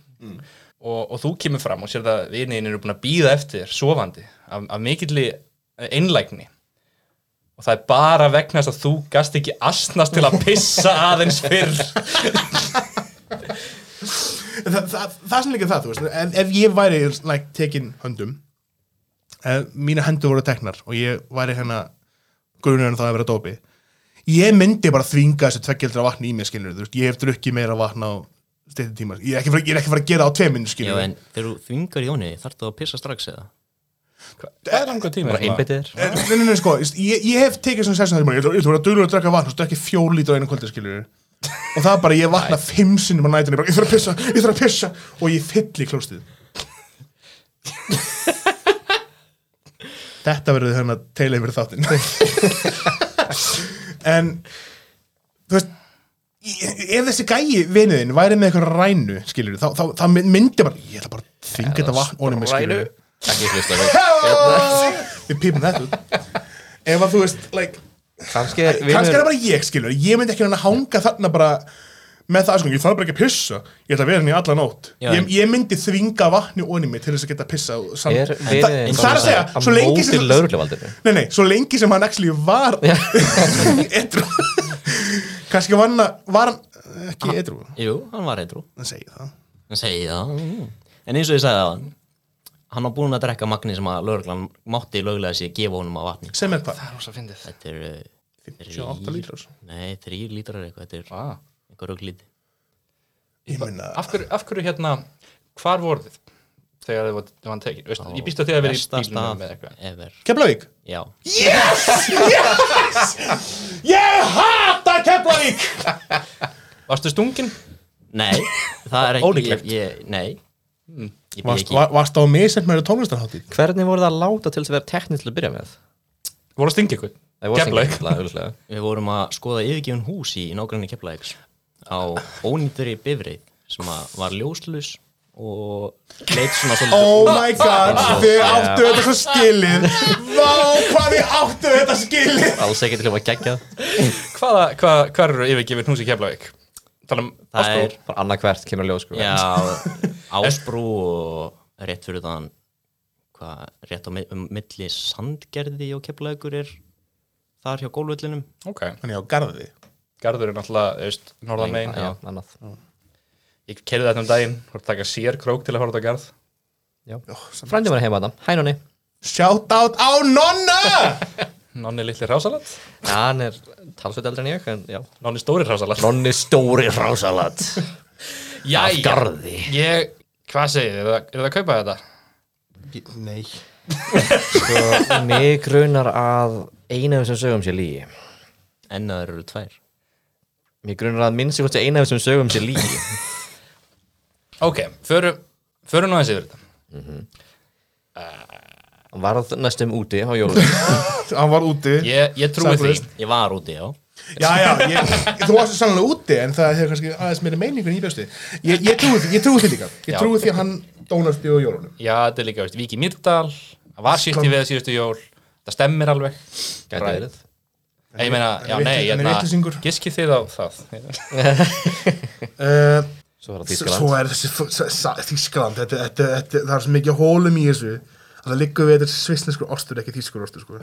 [SPEAKER 5] og, og þú kemur fram og sér það að vinuðin eru búin að býða eftir þér sofandi af, af mikilli einlægni og það er bara vegna þess að þú gast ekki asnast til að pissa aðeins fyrr
[SPEAKER 3] það, það, það sem líka það, þú veist ef, ef ég væri like, tekin höndum ef mína hendur voru teknar og ég væri hérna grunarinn þá að vera dópi ég myndi bara þvinga þessu tveggjaldra vatni í mér skilur, þú veist, ég hef drukkið meira vatna á steytti tíma, ég er ekki fara, ég er ekki fara að gera á tveiminn
[SPEAKER 6] Já,
[SPEAKER 3] skilur,
[SPEAKER 6] en þegar þú þvingar Jóni, þarf þú að pissa strax eða?
[SPEAKER 5] Hvað er langar tími?
[SPEAKER 2] Bara einbyttið þér
[SPEAKER 3] En, nei, nei, nei, sko, ég, ég hef tekið svona sessun þar ég ætla ég ætla að vera duglur að drakka vatn og stökki fjól lítur á einu kvöldi, skilur og það er bara, ég vatna fimm sinnum á nætunni, bara, ég þarf að pissa, ég þarf að pissa og ég fyll í klóstið Þetta verður hérna teila yfir þáttinn En þú veist ég- ef þessi gæi vinuðin væri með eitthvað rænu, skilur þá, þá, þá myndi bara, ég ætla bara að þinga þetta vatn onni mig, skilur
[SPEAKER 2] Ekki hlusta við
[SPEAKER 3] Við pípum þetta út. Ef að þú veist, like,
[SPEAKER 2] Kannski er
[SPEAKER 3] kannski er
[SPEAKER 2] vinur
[SPEAKER 3] það bara ég, skilur Ég myndi ekki hann að hanga þarna bara með það, sko, ég þarf bara ekki að pissa Ég ætla að vera henni í alla nótt
[SPEAKER 6] Já,
[SPEAKER 3] ég,
[SPEAKER 6] en-
[SPEAKER 3] ég myndi þvinga vatni onni mig til þess að geta pissa og samt-
[SPEAKER 2] Er
[SPEAKER 3] En það-
[SPEAKER 2] vinurinn
[SPEAKER 3] en það er að segja, svo lengi
[SPEAKER 2] Móti
[SPEAKER 3] sem
[SPEAKER 2] lögregluvaldinu
[SPEAKER 3] Nei, nei, svo lengi sem hann actually var Edru Kannski var hann að, var hann Ekki edru,
[SPEAKER 6] Jú, hann var eitthrú
[SPEAKER 3] hann segi það
[SPEAKER 6] Hann segi það mm. En eins og ég sagði það, hann var búinn að drekka magni sem að lögreglan mátti löglega sér gefa honum að vatni
[SPEAKER 3] Sem er hvað?
[SPEAKER 6] Þetta er uh,
[SPEAKER 3] 58
[SPEAKER 6] þrír-
[SPEAKER 3] lítrar.
[SPEAKER 6] Nei, þrýr lítrar eða eitthvað, þetta er
[SPEAKER 5] Ah.
[SPEAKER 6] einhver rugglíti
[SPEAKER 3] Ég minna,
[SPEAKER 5] af hverju, af hverju hérna hvar voru þið þegar þið var, þið var tekin Veist, ég býst að þið að vera í
[SPEAKER 6] Besta
[SPEAKER 5] bílunum með
[SPEAKER 6] stað
[SPEAKER 5] eitthvað
[SPEAKER 6] ever
[SPEAKER 3] Keflavík
[SPEAKER 6] Já,
[SPEAKER 3] Ég hata Keflavík
[SPEAKER 5] varstu stungin?
[SPEAKER 6] nei, það er ekki
[SPEAKER 5] Ólíklegt.
[SPEAKER 6] ég, ég, Nei, ég bý
[SPEAKER 3] Hmm. Varst
[SPEAKER 6] ekki
[SPEAKER 3] var- varstu á misend með tónlistarháttið?
[SPEAKER 2] Hvernig voru það að láta til þess að vera teknir til að byrja með?
[SPEAKER 5] voru að stinga ykkur?
[SPEAKER 2] Það voru
[SPEAKER 5] Keflavík.
[SPEAKER 2] sem- augljóslega.
[SPEAKER 6] Við vorum að skoða yfirgefin hús í nágræni Keflavíks á ónýttri bifreið sem að var ljóslus og leit svona svolítið
[SPEAKER 3] Oh
[SPEAKER 6] út.
[SPEAKER 3] my god, þið áttu þetta svo skilið Vá, hvað þið áttu þetta skilið
[SPEAKER 2] Alls ekki til að gegja
[SPEAKER 5] hvaða, hvað, hvað eru yfirgefin hús í Keflavík? tala um
[SPEAKER 6] Það
[SPEAKER 5] Ástrú
[SPEAKER 6] er,
[SPEAKER 2] Bara annað hvert kemur ljós sko
[SPEAKER 6] já, ásbrú og rétt fyrir þann hvað, rétt á mi- um milli sandgerði og Keflavíkur er þar hjá gólvöllinum
[SPEAKER 5] ok,
[SPEAKER 3] Þannig á garði
[SPEAKER 5] garður er náttúrulega eust, norðan megin
[SPEAKER 2] Já, annað
[SPEAKER 5] ég kerði þetta um daginn, voru að taka sér krók til að horfa út á garð
[SPEAKER 2] Frændum er heima þetta, hænunni
[SPEAKER 3] Shout out á nonna
[SPEAKER 5] nonni litli rásalat,
[SPEAKER 2] Já, hann er talsveit eldri en ég en já
[SPEAKER 5] nonni stóri rásalat
[SPEAKER 2] Nonni stóri hrásalat Af
[SPEAKER 5] jæja,
[SPEAKER 2] garði
[SPEAKER 5] ég hvað segir þið, eru það að kaupa þetta?
[SPEAKER 3] Nei
[SPEAKER 2] Sko, mig grunar að eina af þessum sögum sé lígi
[SPEAKER 6] en það eru tvær
[SPEAKER 2] Mig grunar að minnst ég hvort eina af þessum sögum sé lígi
[SPEAKER 5] ok, förum, förum nú aðeins yfir þetta
[SPEAKER 2] Varð næstum úti á jólum
[SPEAKER 3] Hann var úti
[SPEAKER 5] ég, ég trúi því
[SPEAKER 3] Samfélagist.
[SPEAKER 6] Ég var úti, já
[SPEAKER 3] Já, já, ég, þú varst sannlega úti en það hefur kannski aðeins meira meiningur en ég bjóst við. Ég, ég trúi því, ég trúi því líka. Ég
[SPEAKER 5] Já.
[SPEAKER 3] trúi því að hann dónasti og jólunum.
[SPEAKER 5] Já, þetta er líka, veist, Viki Myrdal Það var sýtt í veða síðustu jól Það stemmir alveg
[SPEAKER 2] Gæti
[SPEAKER 5] Bragð.
[SPEAKER 2] verið.
[SPEAKER 5] Nei, Ég meina, já,
[SPEAKER 3] Hann er
[SPEAKER 5] nei,
[SPEAKER 3] vitlis- hann er
[SPEAKER 5] hérna,
[SPEAKER 3] vitlisingur.
[SPEAKER 5] giski þið á það
[SPEAKER 3] Uh,
[SPEAKER 2] Svo var það
[SPEAKER 3] s-
[SPEAKER 2] Þýskaland
[SPEAKER 3] svo er þessi f- s- s- Þýskaland, þetta, þetta, þetta, það er svo mikið hólum í þessu. að Það liggur við þetta svissneskur ostur, ekki þýskur ostur, sko.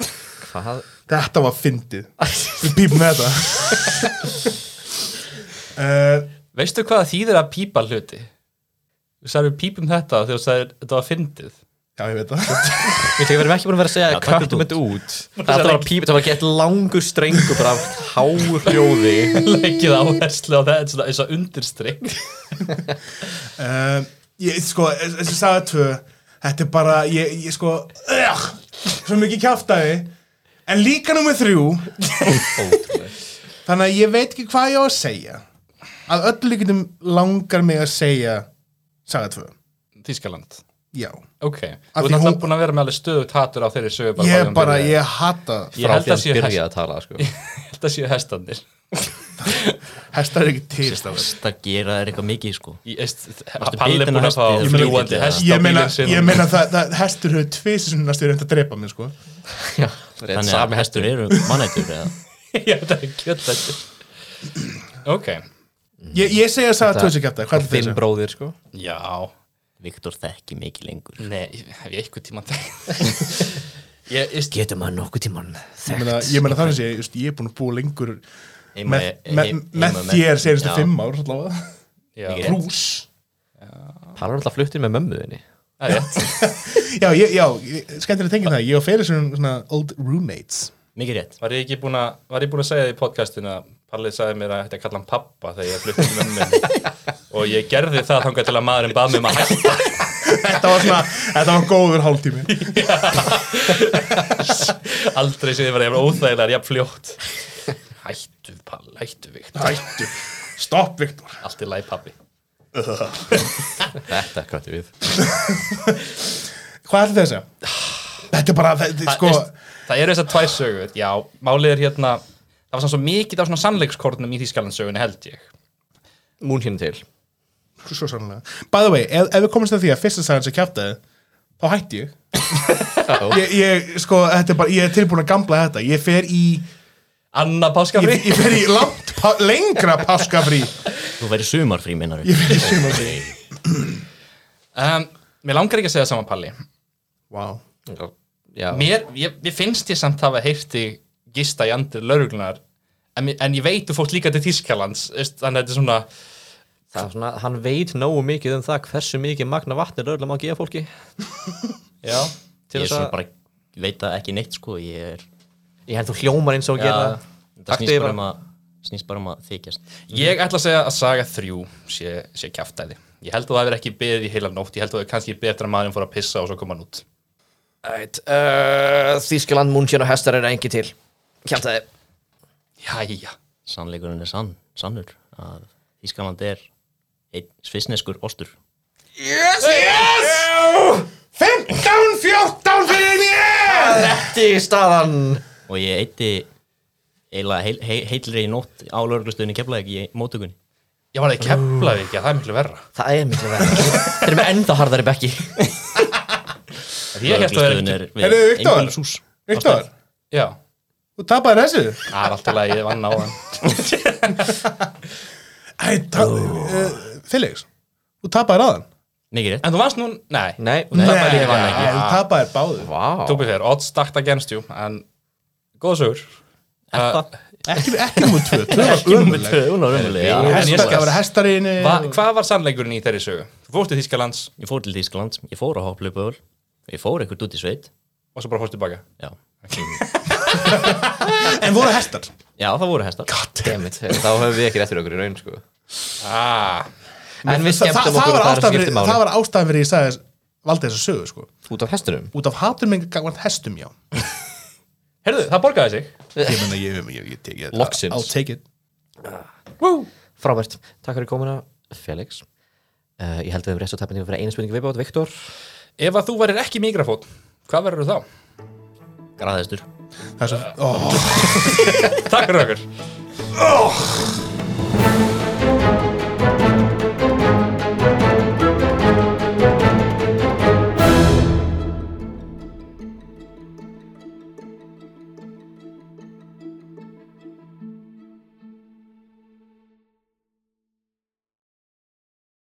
[SPEAKER 2] Hvað?
[SPEAKER 3] Þetta var fyndið. Við pípum þetta. uh,
[SPEAKER 5] Veistu hvað það þýðir að pípa hluti? Þú sagði pípum þetta þegar þú sagði þetta var fyndið
[SPEAKER 3] já, ég veit það.
[SPEAKER 2] Við tegum verðum ekki búin að vera að segja
[SPEAKER 6] takk
[SPEAKER 2] Cut it út Þetta var píp, það var gett langur strengur bara af háu hljóði
[SPEAKER 5] Lekkið áherslu á þetta svona eins og undirstrykk
[SPEAKER 3] Uh, ég, sko, þessi saga tvö Þetta er bara, ég, ég sko uh, Svo mikið kjáftæði En líka nummer þrjú Þannig að ég veit ekki hvað ég á að segja Að öllu líkindum langar mig að segja Saga tvö,
[SPEAKER 5] Þískaland
[SPEAKER 3] já
[SPEAKER 5] Ok, þú
[SPEAKER 3] Af
[SPEAKER 5] ert
[SPEAKER 3] því
[SPEAKER 5] alltaf
[SPEAKER 3] hún-
[SPEAKER 5] búin að vera með alveg stöðut hatur á þeirri sögu frá því
[SPEAKER 3] Ég
[SPEAKER 5] hún
[SPEAKER 3] bara,
[SPEAKER 5] byrjaði.
[SPEAKER 3] ég hata það.
[SPEAKER 5] Ég
[SPEAKER 2] Frá
[SPEAKER 5] held
[SPEAKER 2] því
[SPEAKER 5] að
[SPEAKER 2] að
[SPEAKER 5] séu
[SPEAKER 2] byrja
[SPEAKER 5] hest-
[SPEAKER 2] að tala sko.
[SPEAKER 5] ég held að séu hestandir
[SPEAKER 3] Hestar er ekki til stafar
[SPEAKER 6] Það gera þér eitthvað mikið sko
[SPEAKER 5] Ég veist,
[SPEAKER 6] Varstu
[SPEAKER 5] Palli er
[SPEAKER 6] bitinn
[SPEAKER 5] búin að
[SPEAKER 6] á hesti eða
[SPEAKER 5] fá
[SPEAKER 6] flugið
[SPEAKER 5] fljúandi
[SPEAKER 6] eða?
[SPEAKER 5] hest á
[SPEAKER 3] Ég meina,
[SPEAKER 5] bílinn sinn
[SPEAKER 3] ég meina það, það hestur hefur tvisunast Þeir reynd að drepa mig, sko
[SPEAKER 2] Já, rétt
[SPEAKER 6] Þannig
[SPEAKER 2] sami
[SPEAKER 6] að
[SPEAKER 2] hest
[SPEAKER 6] hestur eru mannættur eða
[SPEAKER 5] Já, það er kjött þetta Ok,
[SPEAKER 3] Ég, ég segja að saga tvö sem kjáftæði, hvað er
[SPEAKER 2] Þinn
[SPEAKER 3] þetta?
[SPEAKER 2] bróðir sko
[SPEAKER 5] já
[SPEAKER 6] Viktor þekki mikið lengur
[SPEAKER 5] Nei, hef ég eitthvað tíma þegar Ég, ég,
[SPEAKER 2] Getur maður nokkuð tímann
[SPEAKER 3] Ég meina, ég meina þannig sé, just, ég er búin að búa lengur
[SPEAKER 6] Heima-
[SPEAKER 3] með,
[SPEAKER 6] he-
[SPEAKER 3] með,
[SPEAKER 6] heima
[SPEAKER 3] með þér senstu
[SPEAKER 6] Já.
[SPEAKER 3] fimm ár allavega.
[SPEAKER 5] já,
[SPEAKER 6] Rétt.
[SPEAKER 3] Rús
[SPEAKER 2] Pallar alltaf fluttir með mömmuðinni
[SPEAKER 5] það er rétt
[SPEAKER 3] Já, ég, já, ég- skemmtilega tengið það Ég og Feri sem svona old roommates
[SPEAKER 6] Mikið rétt
[SPEAKER 5] Var ég ekki búin að, var ég búin að segja því í podcastinu að Pallið sagði mér að ég ætti að kalla hann pappa þegar ég flutti til mömmin og ég gerði það þangað til að maðurinn bað mér um að hætta
[SPEAKER 3] Þetta var svona, þetta var góður hálftími
[SPEAKER 5] aldrei sem þið var ég var óþægilegar, jafn fljótt Hættu Pall, hættu Viktor
[SPEAKER 3] Hættu, stopp Viktor
[SPEAKER 5] Allt í læg pappi
[SPEAKER 2] Þetta kvættu við
[SPEAKER 3] Hvað er þetta þess að? Þetta er bara, þetta er sko
[SPEAKER 5] Það eru þessar tvær sögur, já, málið er hérna það var svona svo mikið af svona sannleikskornum í Þýskalandsögunni held ég
[SPEAKER 2] Mún hinn til
[SPEAKER 3] Svo sannlega By the way, ef, ef við komumst að því að fyrsta sagðan sem kjáttaði Þá hætti ég ég, ég, sko, þetta er bara, ég er tilbúin að gamla þetta Ég fer í,
[SPEAKER 5] Anna
[SPEAKER 3] ég,
[SPEAKER 5] Páskafri
[SPEAKER 3] ég fer í langt, pa, lengra páskafrí
[SPEAKER 6] Þú væri sumarfrí minnar
[SPEAKER 3] Ég fer í sumafrí
[SPEAKER 5] um, Mér langar ekki að segja saman Palli
[SPEAKER 3] Wow
[SPEAKER 2] Já,
[SPEAKER 5] Mér, ég, ég finnst ég samt hafa heyrti gista í andir lauruglunar en, mér- en ég veit þú fórst líka til Þýskalands veist, þannig að þetta er svona
[SPEAKER 2] það er svona, hann veit nógu mikið um það hversu mikið magna vatni lögla má gefa fólki
[SPEAKER 5] já,
[SPEAKER 2] til
[SPEAKER 6] Ég er
[SPEAKER 2] þess
[SPEAKER 6] svona
[SPEAKER 2] að,
[SPEAKER 6] bara Veit það ekki neitt sko Ég er
[SPEAKER 2] ég held þú hljómar eins og að
[SPEAKER 6] Já,
[SPEAKER 2] gera
[SPEAKER 6] Það snýst bara
[SPEAKER 2] aktífa.
[SPEAKER 6] um að Snýst bara um að þykjast
[SPEAKER 5] ég ætla að segja að saga þrjú sé, sé kjaftæði ég held að það hefur ekki beðið í heila nótt ég held að það er kannski betra að maðurinn fór að pissa og svo koma hann út
[SPEAKER 2] Æt, uh, Þískaland, Mún hinn og hestar er engi til Kjáltaði
[SPEAKER 5] jæja,
[SPEAKER 6] Sannleikurinn er sann Sannur Að Ískaland er Einn svisneskur ostur
[SPEAKER 3] 15, 14 fyrir mér
[SPEAKER 2] Þetta í staðan
[SPEAKER 6] Og ég eitti Eiginlega heil, heil, heilri í nótt Á lauruglustöðinu keflaði ekki í móttökunni
[SPEAKER 5] ég var að kefla því ekki það er miklu verra
[SPEAKER 2] Það er miklu verið Þeir eru með enda harðari bekki
[SPEAKER 5] ég held að það er ekki,
[SPEAKER 6] Lögreglustöðin er
[SPEAKER 3] Heyrðu, Viktor.
[SPEAKER 6] einbýlishús.
[SPEAKER 3] Viktor,
[SPEAKER 5] já,
[SPEAKER 3] þú tapaði þessu
[SPEAKER 5] það er alltaf að ég vann á hann
[SPEAKER 3] Æ, ta- uh, Felix, þú tapaði aðan
[SPEAKER 6] Mikið rétt
[SPEAKER 5] en þú vannst nú, nei,
[SPEAKER 2] Nei,
[SPEAKER 5] tapaðir
[SPEAKER 3] Nei,
[SPEAKER 5] ég vann ekki.
[SPEAKER 3] Þú tapaði báðu
[SPEAKER 2] Vá
[SPEAKER 5] tópið þér, odds stacked against you en góða sögur Uh,
[SPEAKER 3] Ekki, ekki nummer tvö, tvö var ömurleg
[SPEAKER 6] Hún var ömuleg
[SPEAKER 5] Já.
[SPEAKER 6] já.
[SPEAKER 5] En ég skal-
[SPEAKER 3] Hestar, það var hestarinn eh,
[SPEAKER 5] hva, hvað var sannleikurinn í þeirri sögu? þú fórst til Þýskalands
[SPEAKER 6] Ég fór til Þýskaland Ég fór á hopplöpuður Ég fór ekkert út í sveit
[SPEAKER 5] og svo bara fórst tilbaka
[SPEAKER 6] Já
[SPEAKER 3] En voru hestar
[SPEAKER 6] Já, það voru hestar
[SPEAKER 2] Dammit, þá höfum við ekki rétt fyrir okkur í raun sko.
[SPEAKER 5] ah,
[SPEAKER 2] En við
[SPEAKER 3] Þa- það-
[SPEAKER 2] skemmtum
[SPEAKER 3] það
[SPEAKER 2] okkur
[SPEAKER 3] var
[SPEAKER 2] og það er sem skiptir máli
[SPEAKER 3] ástæðan fyrir- Það var ástæðan fyrir ég sagði þess- valdi þess að sögu sko.
[SPEAKER 2] Út af hestunum
[SPEAKER 3] Út af hatur mingi gangvart hestum já
[SPEAKER 5] heyrðu, það borgaði sig
[SPEAKER 3] Ég menna ég hef ég, ég, ég, ég
[SPEAKER 2] Loksins.
[SPEAKER 3] I'll take it
[SPEAKER 2] Frábært, takk fyrir komuna Felix uh, Ég held að við hefum rétt svo tapin til að vera einu spurningu viðbátt Viktor
[SPEAKER 5] Ef að þú værir ekki mikrafón, hvað verður þá?
[SPEAKER 6] Graðhestur
[SPEAKER 3] Það er svo, ó,
[SPEAKER 5] Takk fyrir okkur.